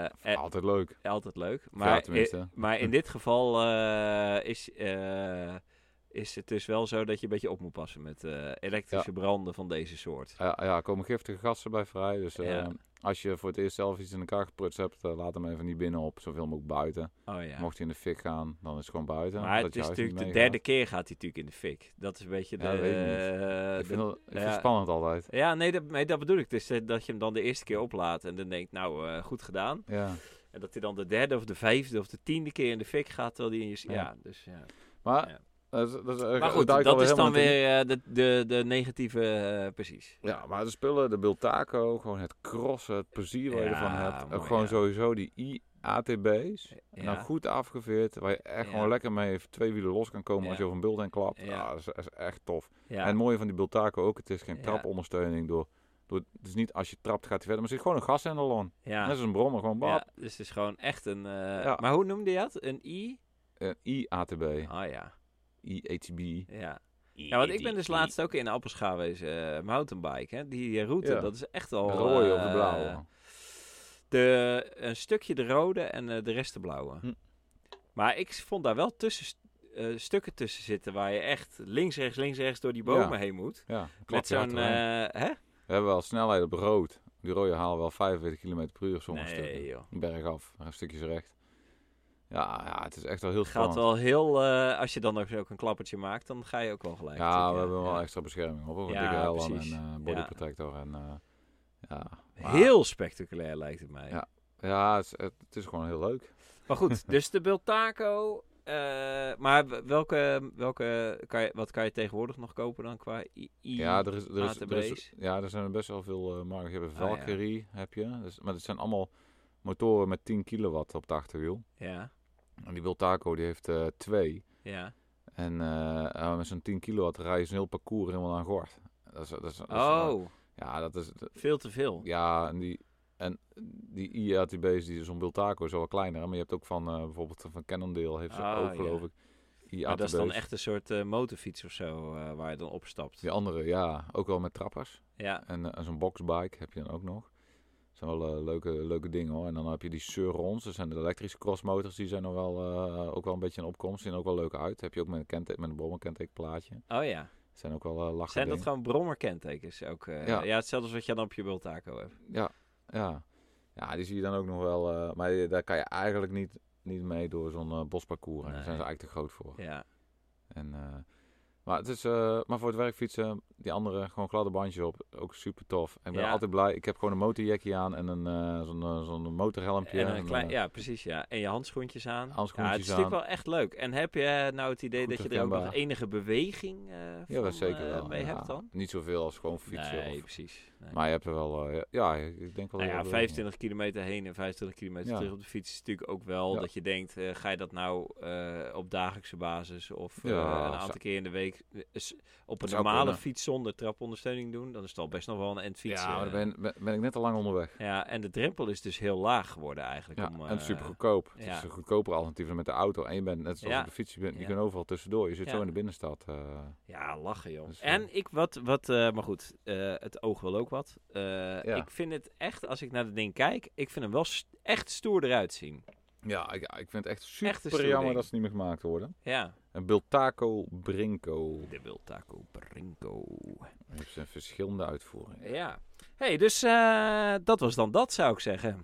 [SPEAKER 1] Eh, en-
[SPEAKER 2] altijd leuk.
[SPEAKER 1] Altijd leuk.
[SPEAKER 2] Maar, Ah. ja,
[SPEAKER 1] Maar, eh,
[SPEAKER 2] tenminste.
[SPEAKER 1] i- maar in dit geval eh, is, eh, is het dus wel zo dat je een beetje op moet passen met eh, elektrische branden van deze soort.
[SPEAKER 2] Ja, Eh, ah ja, er komen giftige gassen bij vrij. Dus eh,
[SPEAKER 1] Ja.
[SPEAKER 2] als je voor het eerst zelf iets in elkaar geprutst hebt, eh, laat hem even niet binnen op. Zoveel mogelijk buiten.
[SPEAKER 1] Oh ja.
[SPEAKER 2] Mocht hij in de fik gaan, dan is het gewoon buiten.
[SPEAKER 1] Maar
[SPEAKER 2] dat
[SPEAKER 1] het
[SPEAKER 2] je
[SPEAKER 1] is
[SPEAKER 2] huis niet
[SPEAKER 1] natuurlijk de
[SPEAKER 2] meegaat.
[SPEAKER 1] derde keer gaat hij natuurlijk in de fik. Dat is een beetje de...
[SPEAKER 2] Ja, weet ik niet.
[SPEAKER 1] eh,
[SPEAKER 2] ik
[SPEAKER 1] de-
[SPEAKER 2] vind, dat, ik vind
[SPEAKER 1] ja.
[SPEAKER 2] het spannend altijd.
[SPEAKER 1] ja, nee dat, nee, dat bedoel ik. Dus eh, dat je hem dan de eerste keer oplaat en dan denkt, nou, eh, goed gedaan.
[SPEAKER 2] Ja.
[SPEAKER 1] En dat hij dan de derde of de vijfde of de tiende keer in de fik gaat, terwijl hij in je... Ja,
[SPEAKER 2] Ja.
[SPEAKER 1] dus ja.
[SPEAKER 2] Maar,
[SPEAKER 1] Ja.
[SPEAKER 2] dat is- dat is-
[SPEAKER 1] Maar
[SPEAKER 2] eh,
[SPEAKER 1] goed,
[SPEAKER 2] duikt
[SPEAKER 1] dat
[SPEAKER 2] alweer
[SPEAKER 1] is dan
[SPEAKER 2] helemaal niet
[SPEAKER 1] weer eh, de, de, de negatieve... eh, precies.
[SPEAKER 2] in. Ja, maar de spullen, de Biltaco, gewoon het crossen, het plezier wat je
[SPEAKER 1] Ja,
[SPEAKER 2] ervan hebt.
[SPEAKER 1] mooi,
[SPEAKER 2] ook gewoon
[SPEAKER 1] ja.
[SPEAKER 2] sowieso die ATB's. En
[SPEAKER 1] Ja.
[SPEAKER 2] dan nou, goed afgeveerd, waar je echt
[SPEAKER 1] Ja.
[SPEAKER 2] gewoon lekker mee twee wielen los kan komen
[SPEAKER 1] Ja.
[SPEAKER 2] als je over een bult en klapt.
[SPEAKER 1] Ja.
[SPEAKER 2] Ja, dat, is, dat is echt tof.
[SPEAKER 1] ja.
[SPEAKER 2] En het mooie van die bultaco ook, het is geen
[SPEAKER 1] Ja.
[SPEAKER 2] trapondersteuning. Door, door, dus niet als je trapt gaat hij verder, maar er zit gewoon een gashendel aan.
[SPEAKER 1] ja.
[SPEAKER 2] Net als een brommer, gewoon bap.
[SPEAKER 1] Ja, dus het is gewoon echt een... eh,
[SPEAKER 2] Ja.
[SPEAKER 1] Maar hoe noemde je dat? Een I?
[SPEAKER 2] Een I-ATB,
[SPEAKER 1] Ah ja,
[SPEAKER 2] I-ATB.
[SPEAKER 1] ja. Ja, want ik ben dus laatst ook in Appels gaan wezen, eh, mountainbike. Hè? Die route,
[SPEAKER 2] Ja.
[SPEAKER 1] dat is echt al...
[SPEAKER 2] De rode of de
[SPEAKER 1] eh,
[SPEAKER 2] blauwe.
[SPEAKER 1] de, een stukje de rode en eh, de rest de blauwe.
[SPEAKER 2] Hm.
[SPEAKER 1] Maar ik vond daar wel tussen, eh, stukken tussen zitten waar je echt links, rechts, links, rechts door die bomen
[SPEAKER 2] Ja.
[SPEAKER 1] heen moet.
[SPEAKER 2] Ja,
[SPEAKER 1] Met
[SPEAKER 2] klopt. ja,
[SPEAKER 1] zo'n...
[SPEAKER 2] terwijl.
[SPEAKER 1] eh, hè?
[SPEAKER 2] We hebben wel snelheid op rood. Die rode halen wel 45 km per uur sommige
[SPEAKER 1] Nee
[SPEAKER 2] stukken.
[SPEAKER 1] joh.
[SPEAKER 2] Bergaf, een stukjes recht. Ja, ja, het is echt wel heel
[SPEAKER 1] Het gaat
[SPEAKER 2] spannend.
[SPEAKER 1] wel heel... eh, als je dan ook, ook een klappertje maakt, dan ga je ook wel gelijk.
[SPEAKER 2] Ja,
[SPEAKER 1] natuurlijk,
[SPEAKER 2] we hebben wel
[SPEAKER 1] Ja.
[SPEAKER 2] extra bescherming op. Hoor.
[SPEAKER 1] Ja,
[SPEAKER 2] dikke helm
[SPEAKER 1] precies.
[SPEAKER 2] en eh
[SPEAKER 1] Ja.
[SPEAKER 2] body protector. En, eh, ja. Maar-
[SPEAKER 1] Heel spectaculair lijkt het mij.
[SPEAKER 2] Ja. Ja, het is, het, het is gewoon heel leuk.
[SPEAKER 1] Maar goed, dus de Bultaco. eh, maar w- welke, welke kan je, wat kan je tegenwoordig nog kopen dan qua i? i-
[SPEAKER 2] Ja, er, is, er, is, er,
[SPEAKER 1] ATB's.
[SPEAKER 2] is, ja, er zijn best wel veel eh marken. Je hebt een
[SPEAKER 1] Ah, ja.
[SPEAKER 2] Valkyrie, heb je. Dus, maar het zijn allemaal motoren met 10 kilowatt op het achterwiel.
[SPEAKER 1] ja,
[SPEAKER 2] En die Bultaco die heeft eh, twee.
[SPEAKER 1] ja.
[SPEAKER 2] En eh, eh, met zo'n 10 kilowatt rij je zo'n heel parcours helemaal aan gort. Dat is, dat is, dat is-
[SPEAKER 1] Oh,
[SPEAKER 2] ja, dat is,
[SPEAKER 1] veel te veel.
[SPEAKER 2] Ja, en die, en die IATB's, die zo'n Bultaco is wel kleiner. hè, Maar je hebt ook van eh, bijvoorbeeld van Cannondale, heeft ze
[SPEAKER 1] Ah,
[SPEAKER 2] ook
[SPEAKER 1] ja.
[SPEAKER 2] geloof ik.
[SPEAKER 1] Maar dat is dan
[SPEAKER 2] IATB's.
[SPEAKER 1] echt een soort eh, motorfiets of zo eh, waar je dan opstapt.
[SPEAKER 2] Die andere, ja, ook wel met trappers.
[SPEAKER 1] Ja,
[SPEAKER 2] En, eh, en zo'n boxbike heb je dan ook nog. Dat zijn wel eh, leuke, leuke dingen hoor. En dan heb je die Surons, dat zijn de elektrische crossmotors. Die zijn nog wel, eh, ook wel een beetje in opkomst. Zien er ook wel leuk uit. Heb je ook met een, kente- met een brommerkentekenplaatje.
[SPEAKER 1] oh ja.
[SPEAKER 2] Zijn ook wel eh lachen
[SPEAKER 1] Zijn dat
[SPEAKER 2] dingen.
[SPEAKER 1] gewoon brommerkentekens ook? eh? ja.
[SPEAKER 2] Ja.
[SPEAKER 1] hetzelfde als wat je dan op je Bultaco hebt.
[SPEAKER 2] Ja, ja. Ja, die zie je dan ook nog wel. eh, maar je- daar kan je eigenlijk niet, niet mee door zo'n eh, bosparcours. En
[SPEAKER 1] Nee.
[SPEAKER 2] Daar zijn ze eigenlijk te groot voor.
[SPEAKER 1] Ja,
[SPEAKER 2] En, eh, maar, het is, eh, maar voor het werk fietsen, die andere, gewoon gladde bandjes op. Ook super tof. Ik ben
[SPEAKER 1] Ja.
[SPEAKER 2] altijd blij. Ik heb gewoon een motorjackie aan en een, eh, zo'n, eh, zo'n motorhelmpje.
[SPEAKER 1] en een
[SPEAKER 2] en,
[SPEAKER 1] klein,
[SPEAKER 2] eh,
[SPEAKER 1] ja, precies. Ja. En je handschoentjes aan. ja, het
[SPEAKER 2] Handschoentjes
[SPEAKER 1] is natuurlijk
[SPEAKER 2] aan.
[SPEAKER 1] wel echt leuk. En heb je eh, nou het idee
[SPEAKER 2] Goed
[SPEAKER 1] dat je er ook nog
[SPEAKER 2] herkenbaar.
[SPEAKER 1] enige beweging eh
[SPEAKER 2] eh, ja,
[SPEAKER 1] van,
[SPEAKER 2] dat zeker
[SPEAKER 1] eh,
[SPEAKER 2] wel.
[SPEAKER 1] mee
[SPEAKER 2] ja.
[SPEAKER 1] hebt dan?
[SPEAKER 2] Niet zoveel als gewoon fietsen.
[SPEAKER 1] nee,
[SPEAKER 2] of-
[SPEAKER 1] precies. Nee.
[SPEAKER 2] maar je hebt er wel, eh, ja, ik denk wel...
[SPEAKER 1] nou
[SPEAKER 2] heel
[SPEAKER 1] ja,
[SPEAKER 2] veel.
[SPEAKER 1] 25 kilometer heen en 25 kilometer
[SPEAKER 2] Ja.
[SPEAKER 1] terug op de fiets is natuurlijk ook wel
[SPEAKER 2] Ja.
[SPEAKER 1] dat je denkt, eh, ga je dat nou eh, op dagelijkse basis of eh,
[SPEAKER 2] Ja,
[SPEAKER 1] een
[SPEAKER 2] zou-
[SPEAKER 1] aantal keer in de week eh, s- op een
[SPEAKER 2] zou
[SPEAKER 1] normale
[SPEAKER 2] kunnen.
[SPEAKER 1] fiets zonder trapondersteuning doen? Dan is het al best nog wel een endfiets.
[SPEAKER 2] Ja, maar
[SPEAKER 1] eh.
[SPEAKER 2] dan ben, ben, ben ik net al lang onderweg.
[SPEAKER 1] ja, en de drempel is dus heel laag geworden eigenlijk.
[SPEAKER 2] Ja,
[SPEAKER 1] om,
[SPEAKER 2] en
[SPEAKER 1] eh,
[SPEAKER 2] super goedkoop. Het
[SPEAKER 1] ja.
[SPEAKER 2] is een goedkoper alternatief dan met de auto. En je bent net zoals
[SPEAKER 1] Ja.
[SPEAKER 2] op de fiets, je, bent, je
[SPEAKER 1] Ja.
[SPEAKER 2] kunt overal tussendoor. Je zit
[SPEAKER 1] Ja.
[SPEAKER 2] zo in de binnenstad. eh.
[SPEAKER 1] Ja, lachen joh.
[SPEAKER 2] Dus, eh,
[SPEAKER 1] en ik wat, wat eh, maar goed, eh, het oog wil ook wat. Eh, Ik vind het echt, als ik naar dat ding kijk, ik vind hem wel st- echt stoer eruit zien.
[SPEAKER 2] ja, ik, ik vind het echt super
[SPEAKER 1] Echt een stoer
[SPEAKER 2] jammer
[SPEAKER 1] ding.
[SPEAKER 2] dat ze niet meer gemaakt worden.
[SPEAKER 1] Ja,
[SPEAKER 2] En Bultaco Brinco
[SPEAKER 1] de Wiltaco Brinco.
[SPEAKER 2] heeft zijn verschillende uitvoeringen.
[SPEAKER 1] Ja. hey, dus eh, dat was dan dat, zou ik zeggen.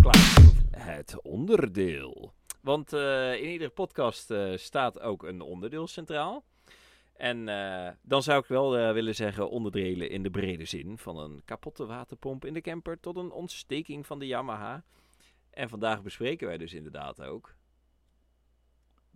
[SPEAKER 1] Klaar. Het onderdeel. Want eh, in iedere podcast eh, staat ook een onderdeel centraal. En eh, dan zou ik wel eh, willen zeggen onderdelen in de brede zin. Van een kapotte waterpomp in de camper tot een ontsteking van de Yamaha. En vandaag bespreken wij dus inderdaad ook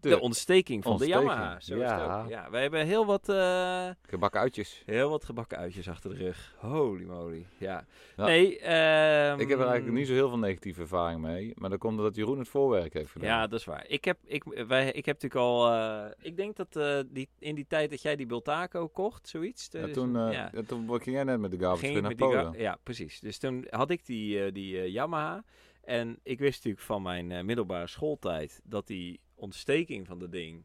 [SPEAKER 1] de, ontsteking van de
[SPEAKER 2] ontsteking,
[SPEAKER 1] Yamaha. Zo is het
[SPEAKER 2] ja.
[SPEAKER 1] ook. Ja, wij hebben heel wat... eh,
[SPEAKER 2] gebakken uitjes.
[SPEAKER 1] Heel wat gebakken uitjes achter de rug. Holy moly. Ja.
[SPEAKER 2] Ja.
[SPEAKER 1] Nee, ehm,
[SPEAKER 2] Ik heb er eigenlijk niet zo heel veel negatieve ervaring mee. Maar dat komt omdat Jeroen het voorwerk heeft gedaan.
[SPEAKER 1] Ja, dat is waar. Ik heb, ik, wij, ik heb natuurlijk al... eh, ik denk dat eh, die, in die tijd dat jij die Bultaco kocht, zoiets...
[SPEAKER 2] En
[SPEAKER 1] dus-
[SPEAKER 2] toen, eh,
[SPEAKER 1] ja,
[SPEAKER 2] ja, toen ging jij net met de garbage
[SPEAKER 1] ging
[SPEAKER 2] weer
[SPEAKER 1] ik
[SPEAKER 2] naar
[SPEAKER 1] met die
[SPEAKER 2] Polen.
[SPEAKER 1] ga- Ja, precies. Dus toen had ik die, eh, die eh, Yamaha. En ik wist natuurlijk van mijn eh, middelbare schooltijd... dat die ontsteking van dat ding...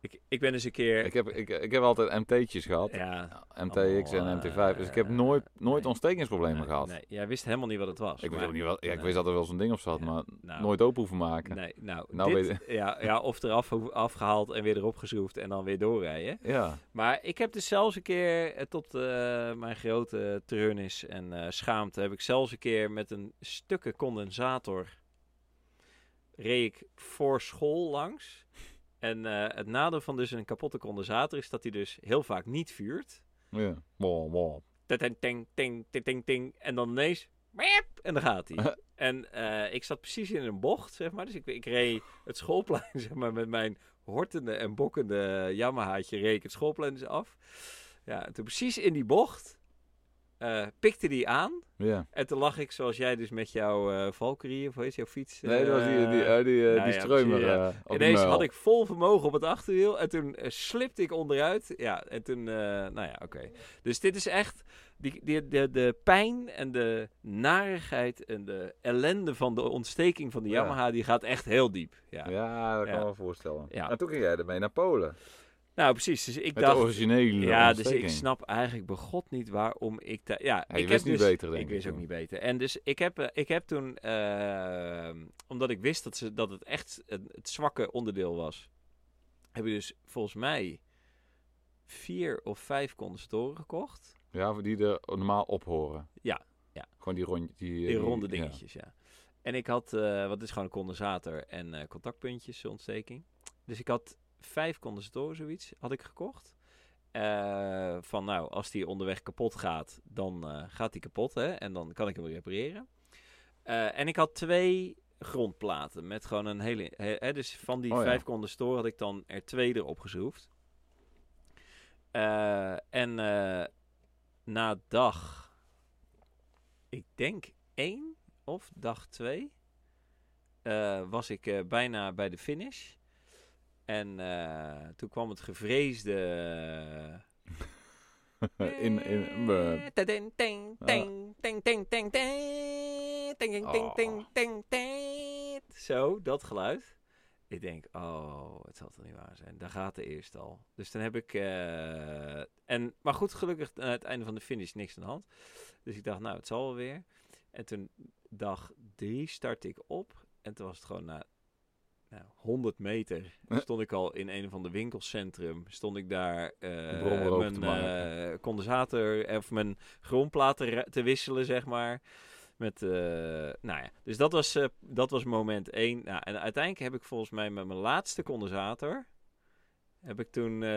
[SPEAKER 1] ik, ik ben eens een keer...
[SPEAKER 2] ik, heb, ik, ik heb altijd MT'tjes gehad.
[SPEAKER 1] ja,
[SPEAKER 2] MTX en
[SPEAKER 1] allemaal,
[SPEAKER 2] MT5. Dus ik heb
[SPEAKER 1] eh,
[SPEAKER 2] nooit, nooit
[SPEAKER 1] nee.
[SPEAKER 2] ontstekingsproblemen
[SPEAKER 1] nee,
[SPEAKER 2] gehad.
[SPEAKER 1] nee, jij wist helemaal niet wat het was.
[SPEAKER 2] Ik, wist
[SPEAKER 1] maar-
[SPEAKER 2] ook niet wel, ja, ik
[SPEAKER 1] nee.
[SPEAKER 2] wist dat er wel zo'n ding op zat,
[SPEAKER 1] Ja,
[SPEAKER 2] maar
[SPEAKER 1] nou,
[SPEAKER 2] nooit open hoeven maken.
[SPEAKER 1] Nee, nou,
[SPEAKER 2] Nou
[SPEAKER 1] dit, ja, ja, of eraf ho- afgehaald en weer erop geschroefd en dan weer doorrijden.
[SPEAKER 2] Ja,
[SPEAKER 1] Maar ik heb dus zelfs een keer, eh, tot eh, mijn grote treurnis en eh, schaamte, heb ik zelfs een keer met een stukken condensator reed ik voor school langs. En eh, het nadeel van dus een kapotte condensator is dat hij dus heel vaak niet vuurt.
[SPEAKER 2] ja. Wow, wow.
[SPEAKER 1] Ting, ting, ting, ting, ting, ting. En dan ineens. miep, en dan gaat hij. en eh, ik zat precies in een bocht, zeg maar. Dus ik, ik reed het schoolplein, zeg maar, met mijn hortende en bokkende Yamahaatje reed ik het schoolplein dus af. Ja, en toen precies in die bocht eh, pikte die aan.
[SPEAKER 2] Ja.
[SPEAKER 1] En toen lag ik, zoals jij dus met jouw eh Valkyrie of hoe heet jouw fiets?
[SPEAKER 2] Nee, dat was die, die,
[SPEAKER 1] eh,
[SPEAKER 2] eh, die, eh,
[SPEAKER 1] nou
[SPEAKER 2] die
[SPEAKER 1] ja,
[SPEAKER 2] streumer
[SPEAKER 1] precies, ja.
[SPEAKER 2] eh, op de
[SPEAKER 1] Ineens
[SPEAKER 2] muil.
[SPEAKER 1] had ik vol vermogen op het achterwiel en toen eh, slipte ik onderuit. Ja, en toen, eh, nou ja, oké. Dus dit is echt, die, die, de, de pijn en de narigheid en de ellende van de ontsteking van de
[SPEAKER 2] Ja.
[SPEAKER 1] Yamaha, die gaat echt heel diep. Ja.
[SPEAKER 2] Ja, dat kan ik
[SPEAKER 1] Ja.
[SPEAKER 2] me wel voorstellen.
[SPEAKER 1] Ja.
[SPEAKER 2] En toen ging jij ermee naar Polen.
[SPEAKER 1] Nou, precies. Dus ik
[SPEAKER 2] Met de
[SPEAKER 1] dacht,
[SPEAKER 2] originele
[SPEAKER 1] ja, dus
[SPEAKER 2] ontsteking.
[SPEAKER 1] ik snap eigenlijk begot niet waarom ik daar... Ja,
[SPEAKER 2] Ja,
[SPEAKER 1] ik
[SPEAKER 2] je wist
[SPEAKER 1] heb
[SPEAKER 2] niet
[SPEAKER 1] dus-
[SPEAKER 2] beter, denk
[SPEAKER 1] ik.
[SPEAKER 2] ik.
[SPEAKER 1] wist ook
[SPEAKER 2] toen.
[SPEAKER 1] niet beter. En dus ik heb, eh, ik heb toen, eh, omdat ik wist dat, ze, dat het echt een- het zwakke onderdeel was, heb ik dus volgens mij vier of vijf condensatoren gekocht.
[SPEAKER 2] Ja, voor die er normaal op horen.
[SPEAKER 1] Ja, ja.
[SPEAKER 2] Gewoon die rond... Die, eh,
[SPEAKER 1] Die ronde
[SPEAKER 2] ja.
[SPEAKER 1] dingetjes, ja. En ik had, eh wat is gewoon een condensator en eh, contactpuntjes, ontsteking. Dus ik had vijf condensatoren, zoiets, had ik gekocht. Eh, van nou, als die onderweg kapot gaat, dan eh, gaat die kapot, hè. En dan kan ik hem repareren. Eh, en ik had twee grondplaten met gewoon een hele... Hè, hè, dus van die
[SPEAKER 2] Oh ja.
[SPEAKER 1] vijf condensatoren had ik dan er twee erop geschroefd. Eh, en eh, na dag, ik denk één of dag twee, eh, was ik eh, bijna bij de finish. En eh, toen kwam het gevreesde... eh,
[SPEAKER 2] in, in, eh,
[SPEAKER 1] Tading, ting,
[SPEAKER 2] Ah.
[SPEAKER 1] ting, ting, ting, ting, ting, ting, ting, ting, ting, ting, ting. Zo, dat geluid. Ik denk, oh, het zal toch niet waar zijn. Daar gaat de eerste al. Dus dan heb ik... eh, en, maar goed, gelukkig aan het einde van de finish niks aan de hand. Dus ik dacht, nou, het zal wel weer. En toen dag drie startte ik op. En toen was het gewoon na nou, 100 meter.
[SPEAKER 2] Huh?
[SPEAKER 1] Stond ik al in een van de winkelcentrum. Stond ik daar eh,
[SPEAKER 2] brommer over
[SPEAKER 1] mijn
[SPEAKER 2] te maken.
[SPEAKER 1] eh, condensator eh, of mijn grondplaat te, re- te wisselen, zeg maar. Met, eh, nou ja, dus dat was, eh, dat was moment één. Nou, en uiteindelijk heb ik volgens mij met mijn laatste condensator... Heb ik toen... eh,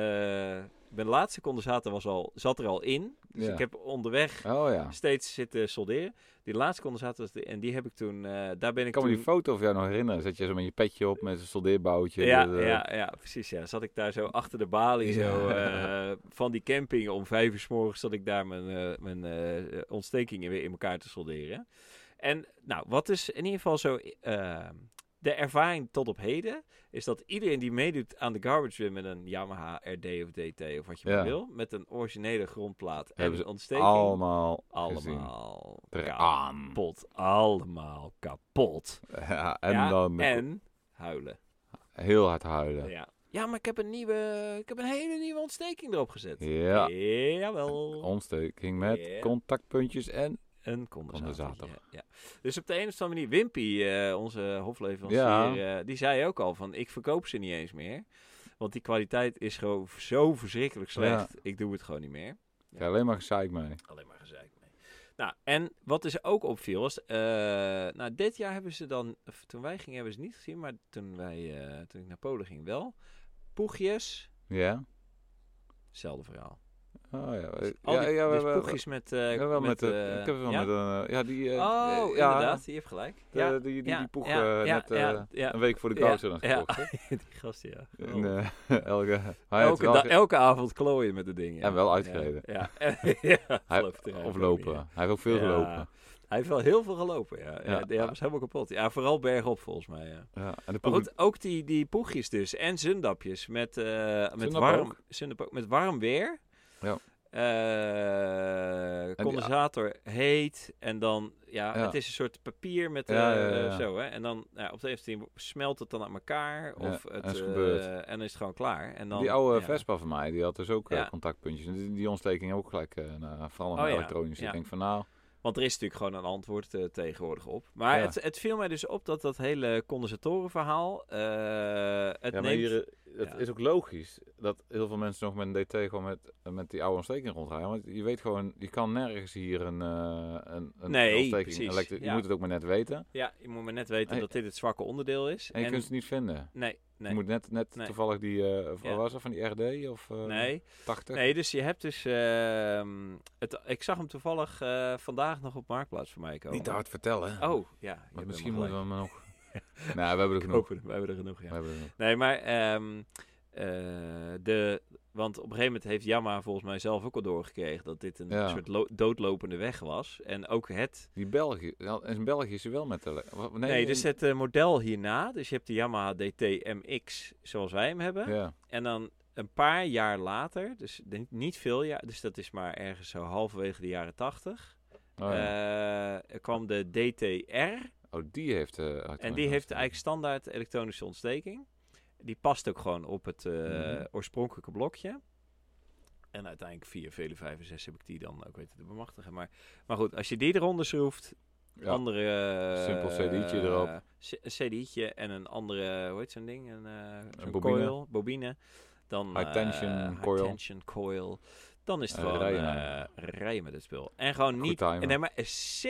[SPEAKER 1] mijn laatste condensator was al, zat er al in. Dus
[SPEAKER 2] Ja.
[SPEAKER 1] ik heb onderweg
[SPEAKER 2] Oh ja.
[SPEAKER 1] steeds zitten solderen. Die laatste condensator was de, en die heb ik toen, eh, daar ben ik
[SPEAKER 2] Ik kan me
[SPEAKER 1] toen...
[SPEAKER 2] die foto van jou nog herinneren. Zet je zo met je petje op, met een soldeerboutje. eh,
[SPEAKER 1] ja,
[SPEAKER 2] de- de-
[SPEAKER 1] ja, ja, precies. Ja. Zat ik daar zo achter de balie zo,
[SPEAKER 2] Ja.
[SPEAKER 1] eh, van die camping om vijf uur s morgens zat ik daar mijn, eh, mijn eh, ontstekingen weer in elkaar te solderen. En nou, wat is in ieder geval zo eh, de ervaring tot op heden, is dat iedereen die meedoet aan de garbage bin met een Yamaha RD of DT of wat je
[SPEAKER 2] Ja.
[SPEAKER 1] maar wil, met een originele grondplaat en
[SPEAKER 2] Hebben ze
[SPEAKER 1] een ontsteking,
[SPEAKER 2] Allemaal gezien.
[SPEAKER 1] allemaal
[SPEAKER 2] Eraan.
[SPEAKER 1] kapot. Allemaal kapot.
[SPEAKER 2] Ja, en
[SPEAKER 1] Ja,
[SPEAKER 2] dan
[SPEAKER 1] en huilen.
[SPEAKER 2] heel hard huilen.
[SPEAKER 1] Ja. ja, maar ik heb een nieuwe, ik heb een hele nieuwe ontsteking erop gezet.
[SPEAKER 2] Ja.
[SPEAKER 1] Jawel.
[SPEAKER 2] Ontsteking met
[SPEAKER 1] Ja.
[SPEAKER 2] contactpuntjes en...
[SPEAKER 1] Een condensator.
[SPEAKER 2] Condensator.
[SPEAKER 1] Ja, ja. Dus op de een of andere manier, Wimpy, eh, onze hofleverancier,
[SPEAKER 2] Ja.
[SPEAKER 1] eh, die zei ook al van, ik verkoop ze niet eens meer. Want die kwaliteit is gewoon zo verschrikkelijk slecht. Ik doe het gewoon niet meer.
[SPEAKER 2] Ja, alleen maar gezeik mee.
[SPEAKER 1] Alleen maar gezeik mee. Nou, en wat dus ook opviel was... eh, nou, dit jaar hebben ze dan... of Toen wij gingen hebben ze het niet gezien, maar toen, wij, eh, toen ik naar Polen ging wel. Poegjes,
[SPEAKER 2] Ja?
[SPEAKER 1] hetzelfde verhaal.
[SPEAKER 2] Oh ja.
[SPEAKER 1] Dus al
[SPEAKER 2] ja,
[SPEAKER 1] die-
[SPEAKER 2] ja, we
[SPEAKER 1] dus
[SPEAKER 2] hebben-
[SPEAKER 1] poegjes met...
[SPEAKER 2] we
[SPEAKER 1] eh,
[SPEAKER 2] hebben wel met,
[SPEAKER 1] eh,
[SPEAKER 2] eh, ik heb wel
[SPEAKER 1] ja?
[SPEAKER 2] met een... eh, ja, die... eh,
[SPEAKER 1] Oh,
[SPEAKER 2] eh, ja,
[SPEAKER 1] inderdaad, je hebt gelijk.
[SPEAKER 2] de-
[SPEAKER 1] ja,
[SPEAKER 2] die, die,
[SPEAKER 1] ja,
[SPEAKER 2] die poeg
[SPEAKER 1] ja,
[SPEAKER 2] eh,
[SPEAKER 1] ja,
[SPEAKER 2] net eh,
[SPEAKER 1] ja, ja.
[SPEAKER 2] een week voor de
[SPEAKER 1] Ja,
[SPEAKER 2] kousen had
[SPEAKER 1] ja.
[SPEAKER 2] gekocht. hè?
[SPEAKER 1] die gast, ja. Oh.
[SPEAKER 2] En, eh, elke, hij had
[SPEAKER 1] elke,
[SPEAKER 2] wel
[SPEAKER 1] da-
[SPEAKER 2] ge-
[SPEAKER 1] elke avond klooien met de dingen.
[SPEAKER 2] En wel uitgereden.
[SPEAKER 1] Ja, ja. ja
[SPEAKER 2] Hij-
[SPEAKER 1] geloof het er eigenlijk ook
[SPEAKER 2] of
[SPEAKER 1] niet,
[SPEAKER 2] lopen.
[SPEAKER 1] ja.
[SPEAKER 2] Hij heeft ook veel
[SPEAKER 1] Ja.
[SPEAKER 2] gelopen.
[SPEAKER 1] Hij heeft wel heel veel gelopen, ja. Ja,
[SPEAKER 2] Ja.
[SPEAKER 1] die- hij was helemaal kapot. Ja, vooral bergop volgens mij, ja.
[SPEAKER 2] Ja. En de
[SPEAKER 1] Maar
[SPEAKER 2] poeg-
[SPEAKER 1] goed, ook die, die poegjes dus. En zundapjes met, eh, met,
[SPEAKER 2] Zundap
[SPEAKER 1] warm,
[SPEAKER 2] ook.
[SPEAKER 1] zundap ook, met warm weer.
[SPEAKER 2] Ja.
[SPEAKER 1] Eh, condensator heet. En dan, ja,
[SPEAKER 2] Ja.
[SPEAKER 1] het is een soort papier met
[SPEAKER 2] Ja,
[SPEAKER 1] eh,
[SPEAKER 2] ja, ja, ja.
[SPEAKER 1] zo. Hè? En dan, ja, op de een of andere manier smelt het dan aan elkaar.
[SPEAKER 2] Ja,
[SPEAKER 1] Of het,
[SPEAKER 2] en is
[SPEAKER 1] eh,
[SPEAKER 2] gebeurd.
[SPEAKER 1] en is het gewoon klaar. En dan,
[SPEAKER 2] die oude
[SPEAKER 1] ja.
[SPEAKER 2] Vespa van mij, die had dus ook eh,
[SPEAKER 1] Ja.
[SPEAKER 2] contactpuntjes. En die, die ontsteking ook gelijk, eh naar, vooral naar
[SPEAKER 1] Oh ja,
[SPEAKER 2] elektronisch.
[SPEAKER 1] ja.
[SPEAKER 2] Ik denk van nou,
[SPEAKER 1] Want er is natuurlijk gewoon een antwoord eh, tegenwoordig op. Maar
[SPEAKER 2] Ja.
[SPEAKER 1] het, het viel mij dus op dat dat hele condensatorenverhaal... eh het
[SPEAKER 2] ja, maar
[SPEAKER 1] neemt...
[SPEAKER 2] hier, eh, het
[SPEAKER 1] ja.
[SPEAKER 2] is ook logisch dat heel veel mensen nog met een DT gewoon met, met die oude ontsteking rondrijden. Want je weet gewoon, je kan nergens hier een, eh, een, een
[SPEAKER 1] Nee,
[SPEAKER 2] ontsteking
[SPEAKER 1] precies,
[SPEAKER 2] elektri- Je
[SPEAKER 1] ja.
[SPEAKER 2] moet het ook maar net weten.
[SPEAKER 1] Ja, je moet maar net weten
[SPEAKER 2] Hey.
[SPEAKER 1] dat dit het zwakke onderdeel is.
[SPEAKER 2] En je kunt het niet vinden.
[SPEAKER 1] Nee, nee.
[SPEAKER 2] Je moet net, net
[SPEAKER 1] Nee.
[SPEAKER 2] toevallig die, eh, of-
[SPEAKER 1] Ja.
[SPEAKER 2] was dat van die RD of eh,
[SPEAKER 1] nee.
[SPEAKER 2] 80?
[SPEAKER 1] nee, dus je hebt dus... ehm, het, ik zag hem toevallig eh, vandaag nog op Marktplaats voor mij komen.
[SPEAKER 2] Oh. Niet te hard vertellen. hè.
[SPEAKER 1] Oh, ja. je
[SPEAKER 2] Want
[SPEAKER 1] hebt
[SPEAKER 2] misschien
[SPEAKER 1] helemaal
[SPEAKER 2] moeten we hem nog... nou, we hebben er
[SPEAKER 1] gelijk.
[SPEAKER 2] genoeg.
[SPEAKER 1] Kopen, we hebben er genoeg,
[SPEAKER 2] We
[SPEAKER 1] ja.
[SPEAKER 2] hebben er genoeg.
[SPEAKER 1] Nee, maar ehm, eh, de, Want op een gegeven moment heeft Yamaha volgens mij zelf ook al doorgekregen dat dit een
[SPEAKER 2] Ja.
[SPEAKER 1] soort lo- doodlopende weg was. En ook het.
[SPEAKER 2] Die België, ja, in België is ze wel met de... le- wat-
[SPEAKER 1] Nee, dus
[SPEAKER 2] in-
[SPEAKER 1] het eh, model hierna. Dus je hebt de Yamaha DT-MX zoals wij hem hebben.
[SPEAKER 2] Ja,
[SPEAKER 1] En dan een paar jaar later, dus ik denk niet veel jaar, dus dat is maar ergens zo halverwege de jaren tachtig,
[SPEAKER 2] Oh, ja.
[SPEAKER 1] eh, kwam de DTR.
[SPEAKER 2] Oh, die heeft... eh,
[SPEAKER 1] En
[SPEAKER 2] elektronische
[SPEAKER 1] die heeft
[SPEAKER 2] ontsteking.
[SPEAKER 1] eigenlijk standaard elektronische ontsteking. Die past ook gewoon op het eh,
[SPEAKER 2] Mhm.
[SPEAKER 1] oorspronkelijke blokje. En uiteindelijk via vele vijf en zes heb ik die dan ook weten te bemachtigen. Maar, maar goed, als je die eronder schroeft,
[SPEAKER 2] Ja.
[SPEAKER 1] andere... eh,
[SPEAKER 2] Simpel CD'tje erop.
[SPEAKER 1] c- Een CD'tje en een andere, hoe heet zo'n ding? Een, eh zo'n
[SPEAKER 2] bobine.
[SPEAKER 1] coil, bobine. Dan,
[SPEAKER 2] High
[SPEAKER 1] eh,
[SPEAKER 2] tension
[SPEAKER 1] high
[SPEAKER 2] coil.
[SPEAKER 1] tension coil. Dan is het
[SPEAKER 2] Eh,
[SPEAKER 1] gewoon
[SPEAKER 2] rijden.
[SPEAKER 1] eh, rijden met het spul. En gewoon
[SPEAKER 2] Goed
[SPEAKER 1] niet
[SPEAKER 2] timen.
[SPEAKER 1] Nee, maar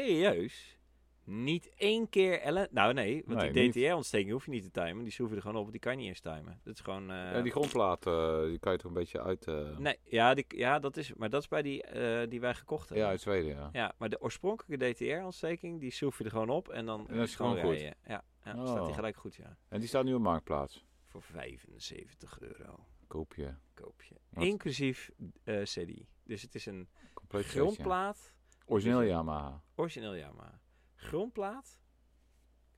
[SPEAKER 1] serieus. Niet één keer ellen. Nou nee, want
[SPEAKER 2] Nee,
[SPEAKER 1] die DTR-ontsteking hoef je niet te timen. Die schroef je er gewoon op, want die kan je niet eens timen. Dat is gewoon... eh,
[SPEAKER 2] Ja, die grondplaat, eh, die kan je toch een beetje uit... eh,
[SPEAKER 1] Nee, ja, die, ja, dat is... Maar dat is bij die eh, die wij gekocht hebben.
[SPEAKER 2] Ja, uit Zweden, ja.
[SPEAKER 1] Ja, maar de oorspronkelijke DTR-ontsteking, die schroef je er gewoon op en dan
[SPEAKER 2] En dat is
[SPEAKER 1] kan
[SPEAKER 2] gewoon goed.
[SPEAKER 1] rijden. Ja, ja
[SPEAKER 2] Oh.
[SPEAKER 1] staat die gelijk goed, ja.
[SPEAKER 2] En die staat nu op Marktplaats.
[SPEAKER 1] Voor 75 euro
[SPEAKER 2] Koop je.
[SPEAKER 1] koop je.
[SPEAKER 2] Wat?
[SPEAKER 1] Inclusief eh, CD. Dus het is een
[SPEAKER 2] Compleet setje.
[SPEAKER 1] grondplaat
[SPEAKER 2] Origineel Yamaha.
[SPEAKER 1] Origineel Yamaha. Grondplaat.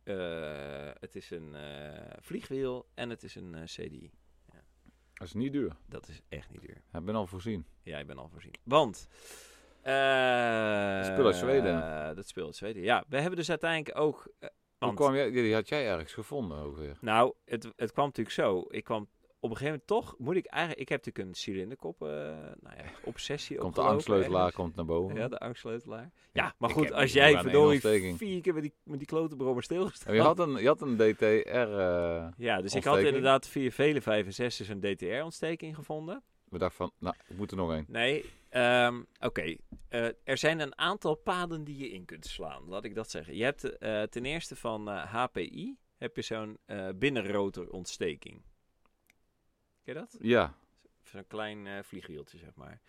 [SPEAKER 1] Eh, het is een eh, vliegwiel en het is een eh, CDI.
[SPEAKER 2] Dat is niet duur.
[SPEAKER 1] Dat is echt niet duur.
[SPEAKER 2] Ik ben al voorzien.
[SPEAKER 1] Ja, ik ben al voorzien. Want... eh,
[SPEAKER 2] spul uit Zweden.
[SPEAKER 1] eh, dat speel uit Zweden. Ja, we hebben dus uiteindelijk ook... eh,
[SPEAKER 2] Hoe
[SPEAKER 1] want-
[SPEAKER 2] kwam jij, die die had jij ergens gevonden ongeveer.
[SPEAKER 1] Nou, het, het kwam natuurlijk zo. Ik kwam op een gegeven moment toch... Moet ik eigenlijk... Ik heb natuurlijk een cilinderkop... eh nou ja, obsessie
[SPEAKER 2] Komt de
[SPEAKER 1] opgelopen
[SPEAKER 2] angstleutelaar
[SPEAKER 1] ergens.
[SPEAKER 2] komt naar boven.
[SPEAKER 1] Ja, de angstleutelaar. Ja, maar
[SPEAKER 2] Ik
[SPEAKER 1] goed,
[SPEAKER 2] heb
[SPEAKER 1] als
[SPEAKER 2] niet
[SPEAKER 1] jij
[SPEAKER 2] maar een
[SPEAKER 1] verdorie
[SPEAKER 2] ontsteking.
[SPEAKER 1] vier keer met die, met die klote brommer stilgestaan...
[SPEAKER 2] En je, had een, je had een DTR. eh
[SPEAKER 1] Ja, dus ik had
[SPEAKER 2] Ontsteking.
[SPEAKER 1] inderdaad via vele 5 en 6 een DTR-ontsteking gevonden.
[SPEAKER 2] we dachten van, nou, ik moet er nog een.
[SPEAKER 1] Nee, ehm, oké. Eh, er zijn een aantal paden die je in kunt slaan, laat ik dat zeggen. Je hebt eh, ten eerste van eh, HPI, heb je zo'n eh binnenrotorontsteking. Ken je dat?
[SPEAKER 2] Ja,
[SPEAKER 1] Zo'n klein eh, vliegwieltje, zeg maar.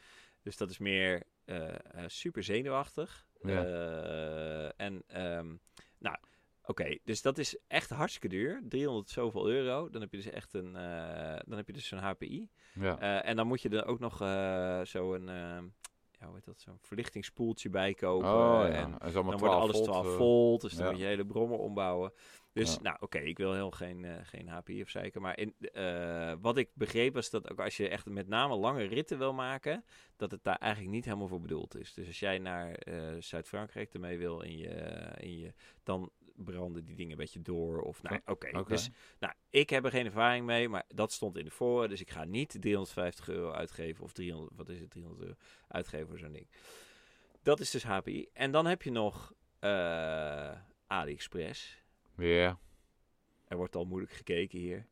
[SPEAKER 1] Dus dat is meer eh, eh, super zenuwachtig.
[SPEAKER 2] Ja.
[SPEAKER 1] Eh, en, ehm, nou, oké. dus dat is echt hartstikke duur. 300 zoveel euro. Dan heb je dus echt een, eh, dan heb je dus zo'n HPI.
[SPEAKER 2] ja.
[SPEAKER 1] Eh, en dan moet je er ook nog eh, zo'n, eh, ja, hoe heet dat, zo'n verlichtingspoeltje bij kopen.
[SPEAKER 2] oh ja,
[SPEAKER 1] En
[SPEAKER 2] dat is allemaal
[SPEAKER 1] dan wordt
[SPEAKER 2] 12
[SPEAKER 1] alles
[SPEAKER 2] volt.
[SPEAKER 1] 12
[SPEAKER 2] eh,
[SPEAKER 1] volt, dus dan
[SPEAKER 2] ja.
[SPEAKER 1] moet je hele brommer ombouwen. Dus
[SPEAKER 2] Ja.
[SPEAKER 1] nou, oké, ik wil heel geen, eh, geen HPI of zeiken. Maar in, eh, wat ik begreep was dat ook als je echt met name lange ritten wil maken, dat het daar eigenlijk niet helemaal voor bedoeld is. Dus als jij naar eh, Zuid-Frankrijk ermee wil in je, in je, dan branden die dingen een beetje door. Of nou, oké.
[SPEAKER 2] Oké.
[SPEAKER 1] Dus nou, ik heb er geen ervaring mee, maar dat stond in de fora. Dus ik ga niet 350 euro uitgeven of 300, wat is het, 300 euro uitgeven voor zo'n ding. Dat is dus HPI. En dan heb je nog eh, AliExpress.
[SPEAKER 2] Ja.
[SPEAKER 1] Er wordt al moeilijk gekeken hier.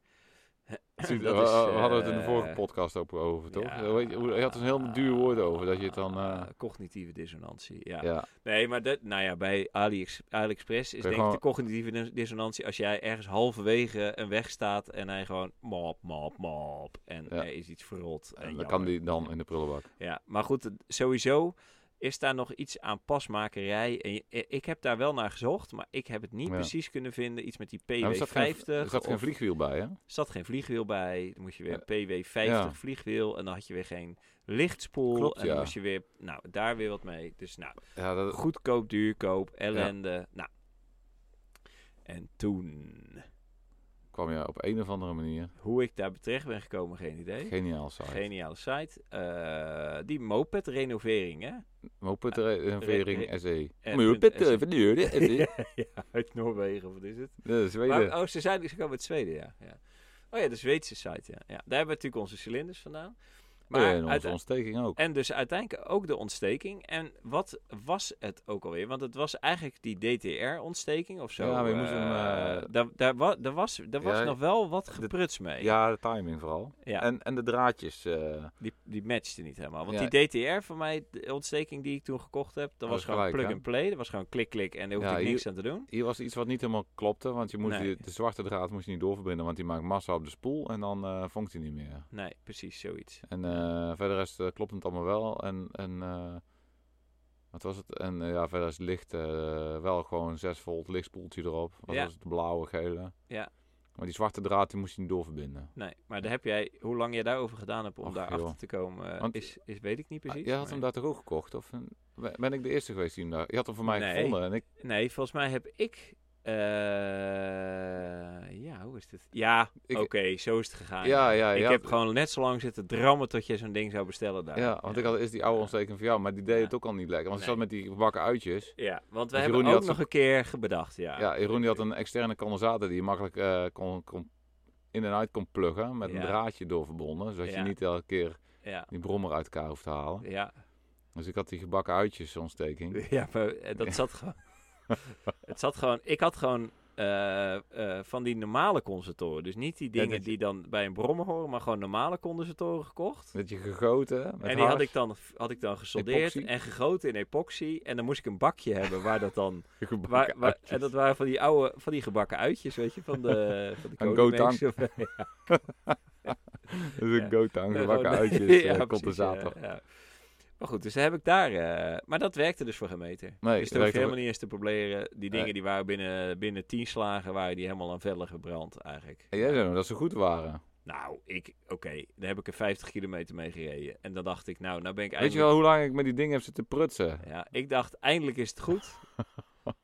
[SPEAKER 2] Zie je,
[SPEAKER 1] Dat
[SPEAKER 2] we-
[SPEAKER 1] is,
[SPEAKER 2] we hadden het in de
[SPEAKER 1] eh,
[SPEAKER 2] vorige podcast ook over, toch?
[SPEAKER 1] Ja.
[SPEAKER 2] Je weet- Je had dus een heel duur woord over, dat je het dan... eh,
[SPEAKER 1] Cognitieve dissonantie, ja.
[SPEAKER 2] ja.
[SPEAKER 1] Nee, maar dat, nou ja, bij AliEx, AliExpress is
[SPEAKER 2] Kun
[SPEAKER 1] denk
[SPEAKER 2] je
[SPEAKER 1] ik de
[SPEAKER 2] gewoon-
[SPEAKER 1] cognitieve dis- dissonantie als jij ergens halverwege een weg staat en hij gewoon mop, mop, mop. En
[SPEAKER 2] Ja.
[SPEAKER 1] er is iets verrot. En
[SPEAKER 2] En Eh, dan
[SPEAKER 1] jammer.
[SPEAKER 2] kan die dan in de prullenbak.
[SPEAKER 1] Ja, maar goed, het- sowieso is daar nog iets aan pasmakerij. En je- eh, ik heb daar wel naar gezocht, maar ik heb het niet
[SPEAKER 2] Ja.
[SPEAKER 1] precies kunnen vinden. Iets met die
[SPEAKER 2] Ja, maar er zat geen-
[SPEAKER 1] PW50.
[SPEAKER 2] Er zat geen
[SPEAKER 1] of-
[SPEAKER 2] vliegwiel bij, hè?
[SPEAKER 1] zat geen vliegwiel bij. Dan moest je weer PW50
[SPEAKER 2] Ja.
[SPEAKER 1] vliegwiel. En dan had je weer geen lichtspoel.
[SPEAKER 2] Klopt,
[SPEAKER 1] en dan
[SPEAKER 2] ja.
[SPEAKER 1] moest je weer, nou, daar weer wat mee. Dus nou,
[SPEAKER 2] Ja, dat,
[SPEAKER 1] goedkoop, duurkoop, ellende. Nou. En toen,
[SPEAKER 2] kwam je op een of andere manier.
[SPEAKER 1] hoe ik daar terecht ben gekomen, geen idee.
[SPEAKER 2] Geniaal site.
[SPEAKER 1] Geniale site. Eh, die moped renovering, hè?
[SPEAKER 2] Moped
[SPEAKER 1] Ah,
[SPEAKER 2] renovering
[SPEAKER 1] re-
[SPEAKER 2] SE.
[SPEAKER 1] Eh,
[SPEAKER 2] Moped
[SPEAKER 1] punt SE.
[SPEAKER 2] renovering SE.
[SPEAKER 1] ja, uit Noorwegen, wat is het?
[SPEAKER 2] De Zweden.
[SPEAKER 1] Maar, oh, ze, zijn, ze komen uit Zweden, ja. ja. Oh ja, de Zweedse site, ja. ja. Daar hebben we natuurlijk onze cilinders vandaan. Maar
[SPEAKER 2] Maar, en
[SPEAKER 1] uite-
[SPEAKER 2] onze ontsteking ook.
[SPEAKER 1] en dus uiteindelijk ook de ontsteking. En wat was het ook alweer? Want het was eigenlijk die DTR-ontsteking of zo.
[SPEAKER 2] Ja, maar je
[SPEAKER 1] eh,
[SPEAKER 2] moest hem, eh,
[SPEAKER 1] daar, daar, wa- daar was, daar was
[SPEAKER 2] Ja,
[SPEAKER 1] nog wel wat
[SPEAKER 2] de-
[SPEAKER 1] gepruts mee.
[SPEAKER 2] Ja, de timing vooral.
[SPEAKER 1] Ja,
[SPEAKER 2] En, en de draadjes. eh
[SPEAKER 1] die, die matchte niet helemaal. Want
[SPEAKER 2] Ja. Oh,
[SPEAKER 1] die DTR van mij, de ontsteking die ik toen gekocht heb, dat
[SPEAKER 2] Dat
[SPEAKER 1] was
[SPEAKER 2] is
[SPEAKER 1] gewoon
[SPEAKER 2] gelijk, hè?
[SPEAKER 1] plug-and-play. Dat was gewoon klik-klik en daar hoefde
[SPEAKER 2] Ja,
[SPEAKER 1] ik niks
[SPEAKER 2] hier-
[SPEAKER 1] aan te doen.
[SPEAKER 2] hier was iets wat niet helemaal klopte, want je moest
[SPEAKER 1] Nee.
[SPEAKER 2] die- de zwarte draad moest je niet doorverbinden, want die maakt massa op de spoel en dan eh vonkt hij niet meer.
[SPEAKER 1] Nee, precies zoiets.
[SPEAKER 2] En eh, verder is, het, eh, klopt het allemaal wel. En, en eh, wat was het? En eh, ja, verder is het licht eh, wel gewoon 6 volt lichtspoeltje erop. Wat
[SPEAKER 1] Ja.
[SPEAKER 2] was het? De blauwe, gele.
[SPEAKER 1] Ja.
[SPEAKER 2] Maar die zwarte draad die moest je niet doorverbinden.
[SPEAKER 1] Nee, maar daar heb jij, hoe lang jij daarover gedaan hebt om
[SPEAKER 2] Ach,
[SPEAKER 1] daar
[SPEAKER 2] joh.
[SPEAKER 1] achter te komen, eh,
[SPEAKER 2] Want- Ah,
[SPEAKER 1] is, is, weet ik niet
[SPEAKER 2] Je
[SPEAKER 1] precies.
[SPEAKER 2] jij had
[SPEAKER 1] maar-
[SPEAKER 2] hem daar toch ook gekocht? Of een- ben ben ik de eerste geweest die hem daar... Je had hem voor mij
[SPEAKER 1] Nee.
[SPEAKER 2] gevonden en ik...
[SPEAKER 1] Nee, volgens mij heb ik. eh, ja, hoe is dit? Ja,
[SPEAKER 2] Ik-
[SPEAKER 1] oké, zo is het gegaan.
[SPEAKER 2] Ja, ja,
[SPEAKER 1] eh, ik
[SPEAKER 2] ja.
[SPEAKER 1] heb gewoon net zo lang zitten drammen tot je zo'n ding zou bestellen daar.
[SPEAKER 2] Ja, want ik had eerst die oude
[SPEAKER 1] Ja.
[SPEAKER 2] ontsteking van jou, maar die deed
[SPEAKER 1] Ja.
[SPEAKER 2] het ook al niet lekker. Want
[SPEAKER 1] Nee.
[SPEAKER 2] ze zat met die bakken uitjes.
[SPEAKER 1] Ja, want we hebben
[SPEAKER 2] Dus Jeroen die
[SPEAKER 1] ook
[SPEAKER 2] had
[SPEAKER 1] nog
[SPEAKER 2] zo'n-
[SPEAKER 1] een keer ge- bedacht, ja.
[SPEAKER 2] Ja, Jeroen die had een externe condensator die je makkelijk eh, kon, kon in en uit kon pluggen. Met een
[SPEAKER 1] Ja.
[SPEAKER 2] draadje doorverbonden, zodat
[SPEAKER 1] Ja.
[SPEAKER 2] je niet elke keer
[SPEAKER 1] Ja,
[SPEAKER 2] die brommer uit elkaar hoeft te halen.
[SPEAKER 1] ja.
[SPEAKER 2] Dus ik had die gebakken uitjes ontsteking.
[SPEAKER 1] Ja, maar eh, dat zat gewoon... het zat gewoon... Ik had gewoon eh, eh, van die normale concertoren. Dus niet die dingen
[SPEAKER 2] dat je-
[SPEAKER 1] die dan bij een brommer horen, maar gewoon normale condensator gekocht.
[SPEAKER 2] Dat je gegoten met
[SPEAKER 1] en die had
[SPEAKER 2] hars.
[SPEAKER 1] ik dan, had ik dan gesoldeerd
[SPEAKER 2] Epoxy?
[SPEAKER 1] en gegoten in epoxy. En dan moest ik een bakje hebben waar dat dan...
[SPEAKER 2] Gebakken
[SPEAKER 1] Waar, waar-
[SPEAKER 2] uitjes.
[SPEAKER 1] en dat waren van die oude, van die gebakken uitjes, weet je, van de, van de
[SPEAKER 2] Van
[SPEAKER 1] Koningsmees of-
[SPEAKER 2] Dat is
[SPEAKER 1] Ja.
[SPEAKER 2] een gootang,
[SPEAKER 1] Nee,
[SPEAKER 2] gebakken
[SPEAKER 1] gewoon-
[SPEAKER 2] uitjes,
[SPEAKER 1] Ja,
[SPEAKER 2] eh,
[SPEAKER 1] precies,
[SPEAKER 2] condensator.
[SPEAKER 1] ja, ja. Maar goed, dus heb ik daar... eh, maar dat werkte dus voor geen meter.
[SPEAKER 2] Nee,
[SPEAKER 1] dus
[SPEAKER 2] dat
[SPEAKER 1] er hoef
[SPEAKER 2] werkte
[SPEAKER 1] je helemaal niet eens te proberen. Die dingen
[SPEAKER 2] Nee.
[SPEAKER 1] die waren binnen, binnen tien slagen, waren die helemaal aan vellen gebrand eigenlijk.
[SPEAKER 2] En jij zei nog dat ze goed waren.
[SPEAKER 1] Nou, ik... Oké, daar heb ik er 50 kilometer mee gereden. En dan dacht ik, nou, nou ben ik
[SPEAKER 2] Weet je
[SPEAKER 1] eigenlijk...
[SPEAKER 2] wel hoe lang ik met die dingen heb zitten prutsen?
[SPEAKER 1] Ja, ik dacht, eindelijk is het goed.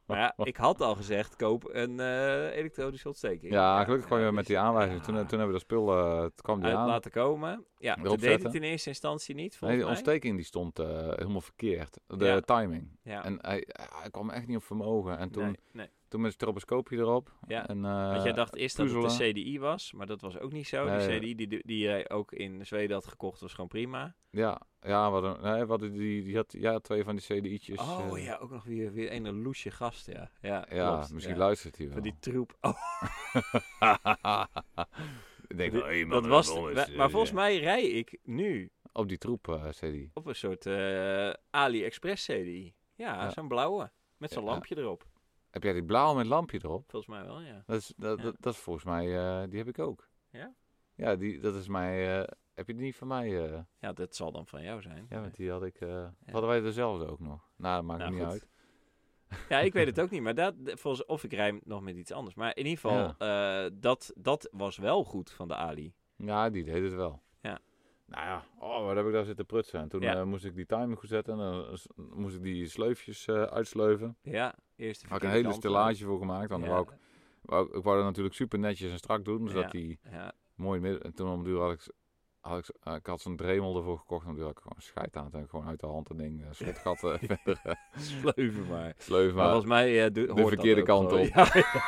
[SPEAKER 1] maar ja, ik had al gezegd, koop een eh, elektronische ontsteking.
[SPEAKER 2] Ja, gelukkig kwam je met die aanwijzing.
[SPEAKER 1] ja.
[SPEAKER 2] Toen, toen hebben we dat spul, eh, het kwam die
[SPEAKER 1] uit
[SPEAKER 2] aan.
[SPEAKER 1] laten komen. Ja,
[SPEAKER 2] Erop
[SPEAKER 1] dat deed het
[SPEAKER 2] zetten.
[SPEAKER 1] in eerste instantie niet,
[SPEAKER 2] Nee,
[SPEAKER 1] volgens
[SPEAKER 2] die
[SPEAKER 1] mij.
[SPEAKER 2] ontsteking die stond eh, helemaal verkeerd. De
[SPEAKER 1] Ja.
[SPEAKER 2] timing.
[SPEAKER 1] Ja,
[SPEAKER 2] En hij, hij kwam echt niet op vermogen. En toen,
[SPEAKER 1] nee, nee.
[SPEAKER 2] toen met een stroboscoopje erop.
[SPEAKER 1] Ja,
[SPEAKER 2] En, eh,
[SPEAKER 1] Want jij dacht eerst dat het
[SPEAKER 2] puzzelen.
[SPEAKER 1] een CDI was, maar dat was ook niet zo.
[SPEAKER 2] Nee.
[SPEAKER 1] die CDI die, die, die jij ook in Zweden had gekocht was gewoon prima.
[SPEAKER 2] ja, ja, we hadden, nee, we hadden die, die had, ja, twee van die CDI'tjes.
[SPEAKER 1] oh
[SPEAKER 2] eh,
[SPEAKER 1] ja, ook nog weer, weer een loesje gast, ja. Ja,
[SPEAKER 2] Ja,
[SPEAKER 1] klopt,
[SPEAKER 2] misschien
[SPEAKER 1] ja.
[SPEAKER 2] luistert hij wel.
[SPEAKER 1] Van die troep. Oh,
[SPEAKER 2] ik denk,
[SPEAKER 1] die-
[SPEAKER 2] wel, hey, man,
[SPEAKER 1] dat was...
[SPEAKER 2] wel eens,
[SPEAKER 1] maar,
[SPEAKER 2] eh,
[SPEAKER 1] maar volgens mij rij ik nu
[SPEAKER 2] Op die troep eh CD.
[SPEAKER 1] op een soort eh, AliExpress CDI. Ja,
[SPEAKER 2] Ja.
[SPEAKER 1] zo'n blauwe. Met zo'n
[SPEAKER 2] Ja.
[SPEAKER 1] lampje erop.
[SPEAKER 2] Heb jij die blauw met lampje erop?
[SPEAKER 1] Volgens mij wel, ja.
[SPEAKER 2] Dat is, dat,
[SPEAKER 1] Ja.
[SPEAKER 2] dat, dat is volgens mij, eh, die heb ik ook.
[SPEAKER 1] Ja?
[SPEAKER 2] Ja, die, dat is mij, eh, heb je die niet van mij? eh?
[SPEAKER 1] Ja, dat zal dan van jou zijn.
[SPEAKER 2] ja, want die had ik, eh, hadden wij dezelfde ook nog. Nou, dat maakt
[SPEAKER 1] Nou,
[SPEAKER 2] niet
[SPEAKER 1] goed.
[SPEAKER 2] uit.
[SPEAKER 1] Ja, ik weet het ook niet. Maar dat, de- volgens, of ik rijm nog met iets anders. Maar in ieder geval, eh, dat, dat was wel goed van de Ali.
[SPEAKER 2] Ja, die deed het wel.
[SPEAKER 1] Ja.
[SPEAKER 2] Nou ja, oh, wat heb ik daar zitten prutsen. En toen
[SPEAKER 1] Ja.
[SPEAKER 2] eh, moest ik die timer goed zetten en dan s- moest ik die sleufjes eh, uitsleuven.
[SPEAKER 1] Ja, eerste
[SPEAKER 2] Had ik een hele stellage voor gemaakt, want
[SPEAKER 1] ja,
[SPEAKER 2] dan wou ik, wou, ik- ik wou dat natuurlijk super netjes en strak doen, zodat
[SPEAKER 1] Ja.
[SPEAKER 2] die
[SPEAKER 1] ja,
[SPEAKER 2] mooi midden... En toen om de duur had ik, s- had ik, s- eh, ik had zo'n dremel ervoor gekocht, en om de duur had ik gewoon scheid aan. Toen heb ik gewoon uit de hand een ding, eh, slotgatten verder eh,
[SPEAKER 1] sleuven maar.
[SPEAKER 2] sleuven.
[SPEAKER 1] Maar
[SPEAKER 2] Maar
[SPEAKER 1] volgens mij eh, doe- hoort dat
[SPEAKER 2] verkeerde
[SPEAKER 1] ook
[SPEAKER 2] kant
[SPEAKER 1] zo.
[SPEAKER 2] op.
[SPEAKER 1] Ja,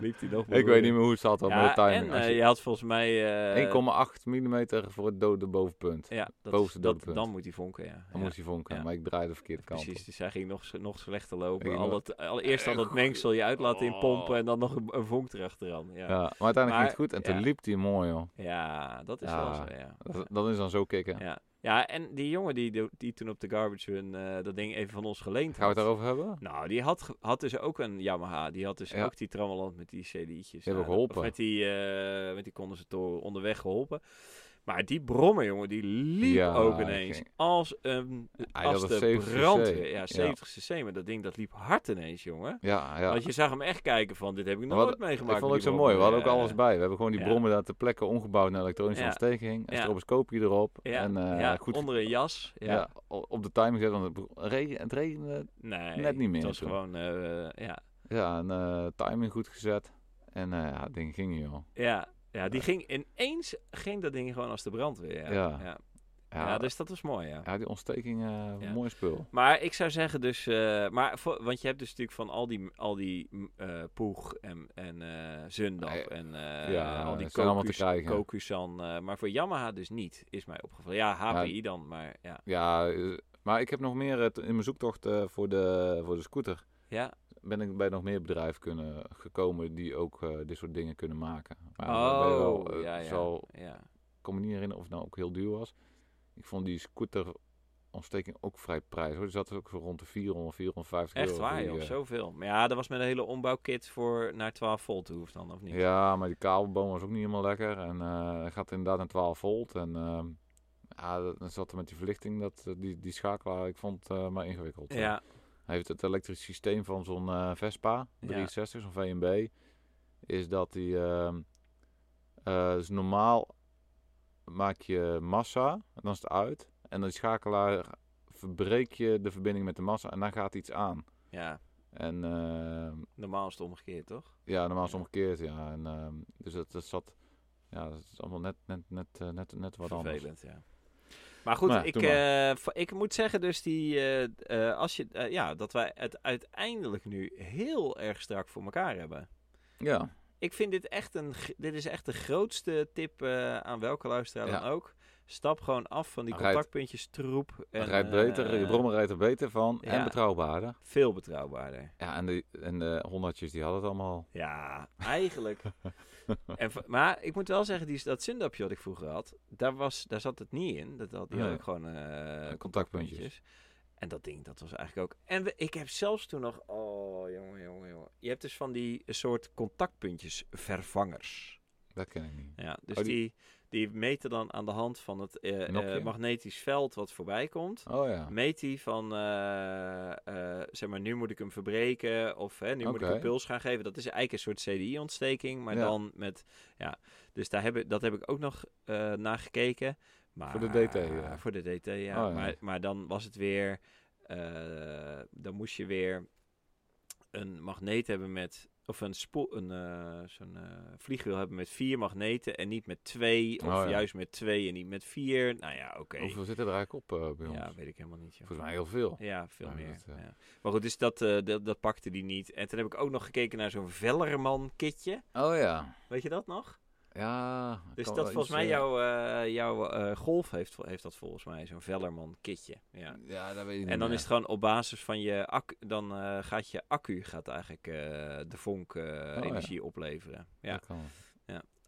[SPEAKER 1] liep die nog maar
[SPEAKER 2] ik
[SPEAKER 1] door.
[SPEAKER 2] weet niet meer hoe het zat hoor,
[SPEAKER 1] Ja,
[SPEAKER 2] met de
[SPEAKER 1] en
[SPEAKER 2] timing. Als
[SPEAKER 1] eh,
[SPEAKER 2] je-
[SPEAKER 1] je had volgens mij... eh,
[SPEAKER 2] 1,8 mm voor het dode bovenpunt.
[SPEAKER 1] ja, dat,
[SPEAKER 2] bovenste
[SPEAKER 1] dat,
[SPEAKER 2] doodpunt.
[SPEAKER 1] dan moet hij vonken, ja.
[SPEAKER 2] Dan
[SPEAKER 1] Ja,
[SPEAKER 2] moest hij vonken,
[SPEAKER 1] Ja.
[SPEAKER 2] maar ik draaide de verkeerde kant
[SPEAKER 1] Precies,
[SPEAKER 2] op.
[SPEAKER 1] dus hij ging nog, s- nog slechter
[SPEAKER 2] Ik
[SPEAKER 1] lopen. Al
[SPEAKER 2] nog-
[SPEAKER 1] dat, allereerst al dat mengsel je uit laten
[SPEAKER 2] Oh.
[SPEAKER 1] inpompen en dan nog een, een vonk erachteraan. Ja.
[SPEAKER 2] Ja, maar uiteindelijk
[SPEAKER 1] Maar-
[SPEAKER 2] ging het goed en toen
[SPEAKER 1] ja.
[SPEAKER 2] liep hij mooi hoor.
[SPEAKER 1] Ja, dat is
[SPEAKER 2] Ja,
[SPEAKER 1] wel zo, ja.
[SPEAKER 2] Dat, dat is dan zo kicken.
[SPEAKER 1] Ja. ja, en die jongen die, do- die toen op de garbage run eh, dat ding even van ons geleend
[SPEAKER 2] Gaan we
[SPEAKER 1] had.
[SPEAKER 2] het daarover hebben?
[SPEAKER 1] Nou, die had, ge- had dus ook een Yamaha. Die had dus
[SPEAKER 2] Ja.
[SPEAKER 1] ook die trammeland met die CD'tjes. Die
[SPEAKER 2] hebben geholpen.
[SPEAKER 1] met die, eh met die condensatoren onderweg geholpen. Maar die brommer, jongen, die liep
[SPEAKER 2] Ja,
[SPEAKER 1] ook
[SPEAKER 2] hij
[SPEAKER 1] ineens
[SPEAKER 2] ging-
[SPEAKER 1] als een
[SPEAKER 2] Hij
[SPEAKER 1] als
[SPEAKER 2] had
[SPEAKER 1] de
[SPEAKER 2] een 70 cc.
[SPEAKER 1] brandweer. Ja,
[SPEAKER 2] Ja.
[SPEAKER 1] 70 cc, maar dat ding dat liep hard ineens, jongen.
[SPEAKER 2] Ja, ja.
[SPEAKER 1] Want je zag hem echt kijken van, dit heb ik nog
[SPEAKER 2] Maar wat-
[SPEAKER 1] nooit meegemaakt.
[SPEAKER 2] ik vond
[SPEAKER 1] met
[SPEAKER 2] het ook
[SPEAKER 1] die
[SPEAKER 2] zo mooi. We
[SPEAKER 1] brommer.
[SPEAKER 2] hadden ook
[SPEAKER 1] Ja,
[SPEAKER 2] alles bij. We hebben gewoon die
[SPEAKER 1] eh, Ja.
[SPEAKER 2] brommen daar ter plekke omgebouwd naar elektronische
[SPEAKER 1] Ja.
[SPEAKER 2] ontsteking. Een
[SPEAKER 1] Ja.
[SPEAKER 2] stroboscoopje erop.
[SPEAKER 1] ja,
[SPEAKER 2] En eh,
[SPEAKER 1] ja,
[SPEAKER 2] goed
[SPEAKER 1] onder een jas.
[SPEAKER 2] ja. o- op de timing zetten. Want het bro- regen- het regende.
[SPEAKER 1] Nee,
[SPEAKER 2] Net niet meer
[SPEAKER 1] Het was
[SPEAKER 2] toen.
[SPEAKER 1] gewoon, eh, ja.
[SPEAKER 2] Ja, en eh, timing goed gezet. En eh, ja, het ding ging joh.
[SPEAKER 1] Ja, ja, die ging ineens ging dat ding gewoon als de brandweer. Ja,
[SPEAKER 2] Ja.
[SPEAKER 1] ja.
[SPEAKER 2] Ja, eh,
[SPEAKER 1] Ja, dus dat was mooi, ja.
[SPEAKER 2] ja, die ontsteking, eh,
[SPEAKER 1] Ja.
[SPEAKER 2] mooi spul.
[SPEAKER 1] Maar ik zou zeggen dus, eh, maar voor- want je hebt dus natuurlijk van al die, al die m, eh, Poeg en, en eh Zundap
[SPEAKER 2] Nee,
[SPEAKER 1] en eh,
[SPEAKER 2] ja,
[SPEAKER 1] al die
[SPEAKER 2] zijn allemaal te
[SPEAKER 1] Kokus-
[SPEAKER 2] krijgen.
[SPEAKER 1] Kokusan, eh, maar voor Yamaha dus niet, is mij opgevallen. Ja, HPI dan, maar ja.
[SPEAKER 2] Ja, eh, maar ik heb nog meer eh, t- in mijn zoektocht eh, voor, de, voor de scooter.
[SPEAKER 1] Ja,
[SPEAKER 2] ben ik bij nog meer bedrijven kunnen, gekomen die ook eh, dit soort dingen kunnen maken. Maar daarbij
[SPEAKER 1] oh,
[SPEAKER 2] eh,
[SPEAKER 1] ja, ja,
[SPEAKER 2] zal-
[SPEAKER 1] ja.
[SPEAKER 2] ik kan me niet herinneren of het nou ook heel duur was. Ik vond die scooter ontsteking ook vrij prijzig. hoor. Die zat dus ook zo rond de 400, 450
[SPEAKER 1] Echt
[SPEAKER 2] euro. voor
[SPEAKER 1] waar,
[SPEAKER 2] die,
[SPEAKER 1] joh,
[SPEAKER 2] eh,
[SPEAKER 1] zoveel. Maar ja, dat was met een hele ombouwkit voor naar 12 volt toe, of dan, of niet?
[SPEAKER 2] Ja, maar die kabelboom was ook niet helemaal lekker. En eh, hij gaat inderdaad naar 12 volt. En ehm, ja, dat- dan zat er met die verlichting, dat, eh, die, die schakelaar, ik vond het eh, maar ingewikkeld.
[SPEAKER 1] Ja,
[SPEAKER 2] Hij heeft het elektrisch systeem van zo'n eh, Vespa 63, zo'n VMB. Is dat die... ehm, eh, dus normaal maak je massa, en dan is het uit. En dan die schakelaar verbreek je de verbinding met de massa en dan gaat iets aan.
[SPEAKER 1] Ja,
[SPEAKER 2] En ehm,
[SPEAKER 1] normaal is het omgekeerd, toch?
[SPEAKER 2] ja, normaal is het
[SPEAKER 1] Ja.
[SPEAKER 2] omgekeerd, ja. En, ehm, dus dat, dat zat... Ja, dat is allemaal net, net, net, eh, net, net wat anders.
[SPEAKER 1] Vervelend, ja. Maar goed,
[SPEAKER 2] Maar ja,
[SPEAKER 1] ik,
[SPEAKER 2] doe
[SPEAKER 1] eh, va- ik moet zeggen dus die, eh, eh, als je, eh, ja, dat wij het uiteindelijk nu heel erg strak voor elkaar hebben.
[SPEAKER 2] Ja,
[SPEAKER 1] Ik vind dit echt een, g- dit is echt de grootste tip eh, aan welke luisteraar
[SPEAKER 2] Ja.
[SPEAKER 1] dan ook. Stap gewoon af van die
[SPEAKER 2] Rijd-
[SPEAKER 1] contactpuntjes troep. En,
[SPEAKER 2] rijdt beter,
[SPEAKER 1] eh,
[SPEAKER 2] je brommer rijdt er beter van en
[SPEAKER 1] ja.
[SPEAKER 2] betrouwbaarder.
[SPEAKER 1] Veel betrouwbaarder.
[SPEAKER 2] Ja, en de, en de honderdjes die hadden het allemaal.
[SPEAKER 1] Ja, eigenlijk. en, v- maar ik moet wel zeggen, die, dat zindapje wat ik vroeger had, daar, was, daar zat het niet in. Dat, dat, die had
[SPEAKER 2] Nee.
[SPEAKER 1] ik gewoon eh,
[SPEAKER 2] Eh, contactpuntjes.
[SPEAKER 1] En dat ding, dat was eigenlijk ook. En we- ik heb zelfs toen nog. Oh, jongen, jongen, jongen. Je hebt dus van die soort contactpuntjes vervangers.
[SPEAKER 2] Dat ken ik niet.
[SPEAKER 1] Ja, dus
[SPEAKER 2] Oh, die-
[SPEAKER 1] die... Die, meten dan aan de hand van het eh,
[SPEAKER 2] Nopje?
[SPEAKER 1] eh, magnetisch veld wat voorbij komt.
[SPEAKER 2] Oh ja.
[SPEAKER 1] Meet die van, eh, eh, zeg maar, nu moet ik hem verbreken of hè, nu moet ik
[SPEAKER 2] Oké.
[SPEAKER 1] een puls gaan geven. Dat is eigenlijk een soort CDI-ontsteking, maar
[SPEAKER 2] Ja.
[SPEAKER 1] dan met, ja. Dus daar heb ik, dat heb ik ook nog eh, naar gekeken. Maar,
[SPEAKER 2] Voor de DT, ja. Oh,
[SPEAKER 1] Voor de DT, ja.
[SPEAKER 2] ja.
[SPEAKER 1] Maar, maar dan was het weer, eh, dan moest je weer een magneet hebben met, of een spoel, een, eh, zo'n eh, vliegwiel hebben met vier magneten en niet met twee. Of
[SPEAKER 2] Oh, ja.
[SPEAKER 1] juist met twee en niet met vier. Nou ja, oké.
[SPEAKER 2] Hoeveel zitten er eigenlijk op eh, bij ons?
[SPEAKER 1] Ja, weet ik helemaal niet. joh.
[SPEAKER 2] Volgens mij heel veel.
[SPEAKER 1] Ja, veel
[SPEAKER 2] Maar
[SPEAKER 1] meer.
[SPEAKER 2] dat, eh,
[SPEAKER 1] ja. Maar goed, dus dat, eh, dat, dat pakte die niet. En toen heb ik ook nog gekeken naar zo'n Vellerman-kitje.
[SPEAKER 2] Oh ja.
[SPEAKER 1] Weet je dat nog?
[SPEAKER 2] Ja. ik
[SPEAKER 1] Dus
[SPEAKER 2] kan
[SPEAKER 1] dat
[SPEAKER 2] wel
[SPEAKER 1] volgens
[SPEAKER 2] iets,
[SPEAKER 1] mij
[SPEAKER 2] eh,
[SPEAKER 1] jouw, eh, jouw eh, golf heeft, heeft dat volgens mij, zo'n Vellerman-kitje. Ja.
[SPEAKER 2] Ja, dat weet ik niet.
[SPEAKER 1] En dan
[SPEAKER 2] meer.
[SPEAKER 1] is het gewoon op basis van je accu, dan eh, gaat je accu gaat eigenlijk eh, de vonk eh,
[SPEAKER 2] Oh, ja.
[SPEAKER 1] energie opleveren. Ja.
[SPEAKER 2] Dat kan wel.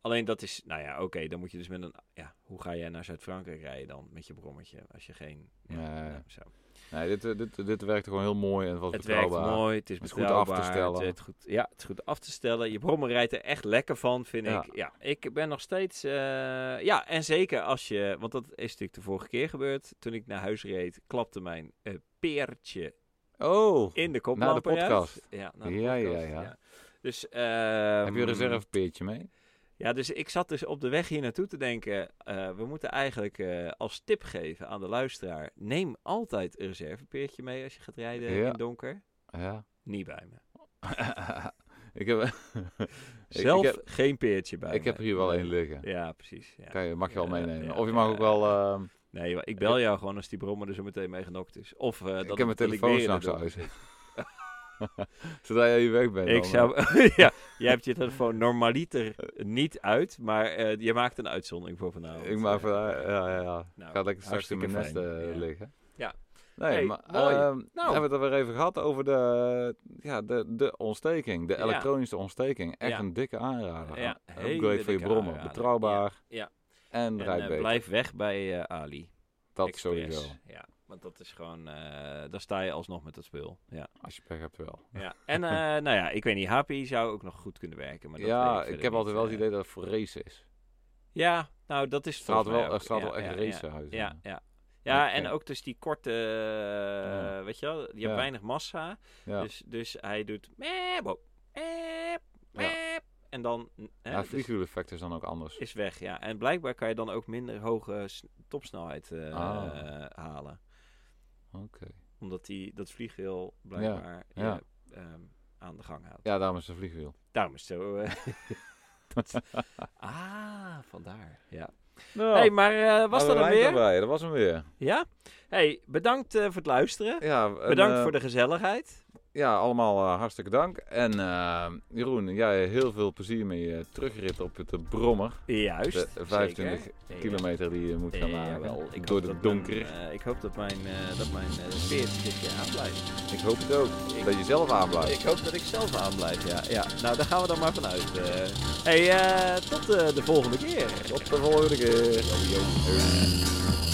[SPEAKER 1] Alleen dat is, nou ja, oké, dan moet je dus met een, ja, hoe ga jij naar Zuid-Frankrijk rijden dan met je brommetje als je geen, ja,
[SPEAKER 2] Nee.
[SPEAKER 1] nou, zo.
[SPEAKER 2] Nee, dit, eh, dit, dit werkte gewoon heel mooi en het was
[SPEAKER 1] Het werkt
[SPEAKER 2] betrouwbaar.
[SPEAKER 1] mooi, het is
[SPEAKER 2] Het is goed
[SPEAKER 1] betrouwbaar.
[SPEAKER 2] af te stellen.
[SPEAKER 1] Het, het goed, ja, het is goed af te stellen. Je brommer rijdt er echt lekker van, vind
[SPEAKER 2] Ja.
[SPEAKER 1] ik. Ja, ik ben nog steeds... eh, ja, en zeker als je... Want dat is natuurlijk de vorige keer gebeurd. Toen ik naar huis reed, klapte mijn eh, peertje
[SPEAKER 2] Oh,
[SPEAKER 1] in de
[SPEAKER 2] na de
[SPEAKER 1] koplampen
[SPEAKER 2] podcast.
[SPEAKER 1] Ja, na de
[SPEAKER 2] Ja, ja,
[SPEAKER 1] podcast,
[SPEAKER 2] ja.
[SPEAKER 1] Dus, ehm,
[SPEAKER 2] Heb je een reservepeertje mee?
[SPEAKER 1] Ja, dus ik zat dus op de weg hier naartoe te denken... eh, we moeten eigenlijk eh, als tip geven aan de luisteraar... Neem altijd een reservepeertje mee als je gaat rijden in
[SPEAKER 2] Ja.
[SPEAKER 1] het donker.
[SPEAKER 2] Ja.
[SPEAKER 1] Niet bij me.
[SPEAKER 2] ik heb, Ik-
[SPEAKER 1] Zelf
[SPEAKER 2] ik heb-
[SPEAKER 1] geen peertje bij.
[SPEAKER 2] ik
[SPEAKER 1] me.
[SPEAKER 2] heb er hier wel één liggen.
[SPEAKER 1] Ja, precies. Ja.
[SPEAKER 2] Kan je, mag je wel
[SPEAKER 1] Ja,
[SPEAKER 2] meenemen.
[SPEAKER 1] ja, Eh,
[SPEAKER 2] of je mag
[SPEAKER 1] ja.
[SPEAKER 2] ook wel... ehm,
[SPEAKER 1] Nee, maar ik bel jou gewoon als die brommer er zo meteen mee genokt is. Of eh, dat
[SPEAKER 2] ik heb mijn
[SPEAKER 1] dat
[SPEAKER 2] telefoon
[SPEAKER 1] weer in de
[SPEAKER 2] s'nachts
[SPEAKER 1] dop
[SPEAKER 2] uit.
[SPEAKER 1] zit.
[SPEAKER 2] Zodra jij hier weg bent.
[SPEAKER 1] Ik
[SPEAKER 2] dan,
[SPEAKER 1] zou... ja, jij hebt je telefoon normaliter niet uit, maar eh, je maakt een uitzondering voor vanavond.
[SPEAKER 2] eh, Ik maak
[SPEAKER 1] Eh,
[SPEAKER 2] van... Ja, ja, ja.
[SPEAKER 1] nou,
[SPEAKER 2] Gaat lekker straks in
[SPEAKER 1] hartstikke
[SPEAKER 2] mijn nest
[SPEAKER 1] fijn.
[SPEAKER 2] eh,
[SPEAKER 1] Ja.
[SPEAKER 2] liggen.
[SPEAKER 1] Ja.
[SPEAKER 2] Nee,
[SPEAKER 1] Hey,
[SPEAKER 2] maar
[SPEAKER 1] mooi.
[SPEAKER 2] ehm,
[SPEAKER 1] Nou.
[SPEAKER 2] hebben we het alweer even gehad over de, ja, de, de ontsteking. De
[SPEAKER 1] Ja.
[SPEAKER 2] elektronische ontsteking. Echt
[SPEAKER 1] Ja.
[SPEAKER 2] een dikke aanrader.
[SPEAKER 1] Ja, hele
[SPEAKER 2] Upgrade voor je
[SPEAKER 1] dikke
[SPEAKER 2] brommen.
[SPEAKER 1] aanrader.
[SPEAKER 2] Betrouwbaar.
[SPEAKER 1] Ja.
[SPEAKER 2] En
[SPEAKER 1] En,
[SPEAKER 2] rijd
[SPEAKER 1] eh,
[SPEAKER 2] beter.
[SPEAKER 1] blijf weg bij eh, Ali.
[SPEAKER 2] Dat
[SPEAKER 1] Express.
[SPEAKER 2] sowieso.
[SPEAKER 1] Ja, want dat is gewoon... eh, daar sta je alsnog met dat spul. Ja.
[SPEAKER 2] Als je pech hebt wel.
[SPEAKER 1] ja. En eh, nou ja, ik weet niet, HPI zou ook nog goed kunnen werken. Maar dat weet
[SPEAKER 2] ja,
[SPEAKER 1] ik,
[SPEAKER 2] ik
[SPEAKER 1] verder
[SPEAKER 2] heb
[SPEAKER 1] niet,
[SPEAKER 2] altijd wel het
[SPEAKER 1] eh.
[SPEAKER 2] idee dat het voor race is.
[SPEAKER 1] Ja, nou dat is
[SPEAKER 2] Het straalt
[SPEAKER 1] volgens mij
[SPEAKER 2] wel, er
[SPEAKER 1] ook-
[SPEAKER 2] straalt
[SPEAKER 1] ja,
[SPEAKER 2] wel
[SPEAKER 1] ja,
[SPEAKER 2] echt race uit.
[SPEAKER 1] Ja, ja. ja.
[SPEAKER 2] Ja,
[SPEAKER 1] Ja, en
[SPEAKER 2] ja.
[SPEAKER 1] ook dus die korte, eh, weet je wel, je hebt
[SPEAKER 2] Ja.
[SPEAKER 1] weinig massa.
[SPEAKER 2] Ja.
[SPEAKER 1] Dus, dus hij doet meep, oh, meep,
[SPEAKER 2] Ja.
[SPEAKER 1] meep, en dan hè,
[SPEAKER 2] Ja, het
[SPEAKER 1] dus
[SPEAKER 2] vliegwieleffect is dan ook anders.
[SPEAKER 1] is weg. Ja. En blijkbaar kan je dan ook minder hoge s- topsnelheid eh,
[SPEAKER 2] Ah.
[SPEAKER 1] halen.
[SPEAKER 2] Oké.
[SPEAKER 1] Omdat die, dat vliegwiel blijkbaar je,
[SPEAKER 2] ja.
[SPEAKER 1] ehm, aan de gang houdt.
[SPEAKER 2] Ja, daarom is het een vliegwiel.
[SPEAKER 1] Daarom is het zo... eh, dat is- ah, vandaar. Ja.
[SPEAKER 2] Nou,
[SPEAKER 1] hey, maar eh, was dat hem
[SPEAKER 2] hadden we eind
[SPEAKER 1] weer?
[SPEAKER 2] erbij. Dat was hem weer.
[SPEAKER 1] Ja? hey, bedankt eh, voor het luisteren.
[SPEAKER 2] Ja,
[SPEAKER 1] Bedankt voor de gezelligheid.
[SPEAKER 2] Ja, allemaal eh, hartstikke dank. En eh, Jeroen, jij heel veel plezier met je terugrit op de Brommer. De
[SPEAKER 1] Juist.
[SPEAKER 2] 25
[SPEAKER 1] zeker. Nee,
[SPEAKER 2] kilometer die je moet
[SPEAKER 1] eh,
[SPEAKER 2] gaan
[SPEAKER 1] jawel.
[SPEAKER 2] maken
[SPEAKER 1] Ik
[SPEAKER 2] door
[SPEAKER 1] hoop
[SPEAKER 2] de
[SPEAKER 1] dat
[SPEAKER 2] donker.
[SPEAKER 1] mijn, eh, ik hoop dat mijn, eh, dat mijn eh, speertje aanblijft.
[SPEAKER 2] ik hoop het ook.
[SPEAKER 1] Ik-
[SPEAKER 2] dat je zelf aanblijft.
[SPEAKER 1] Ik hoop dat ik zelf aanblijf, ja. ja. Nou, daar gaan we dan maar vanuit. eh. hey, eh, tot eh, de volgende keer.
[SPEAKER 2] Tot de volgende keer. Hey.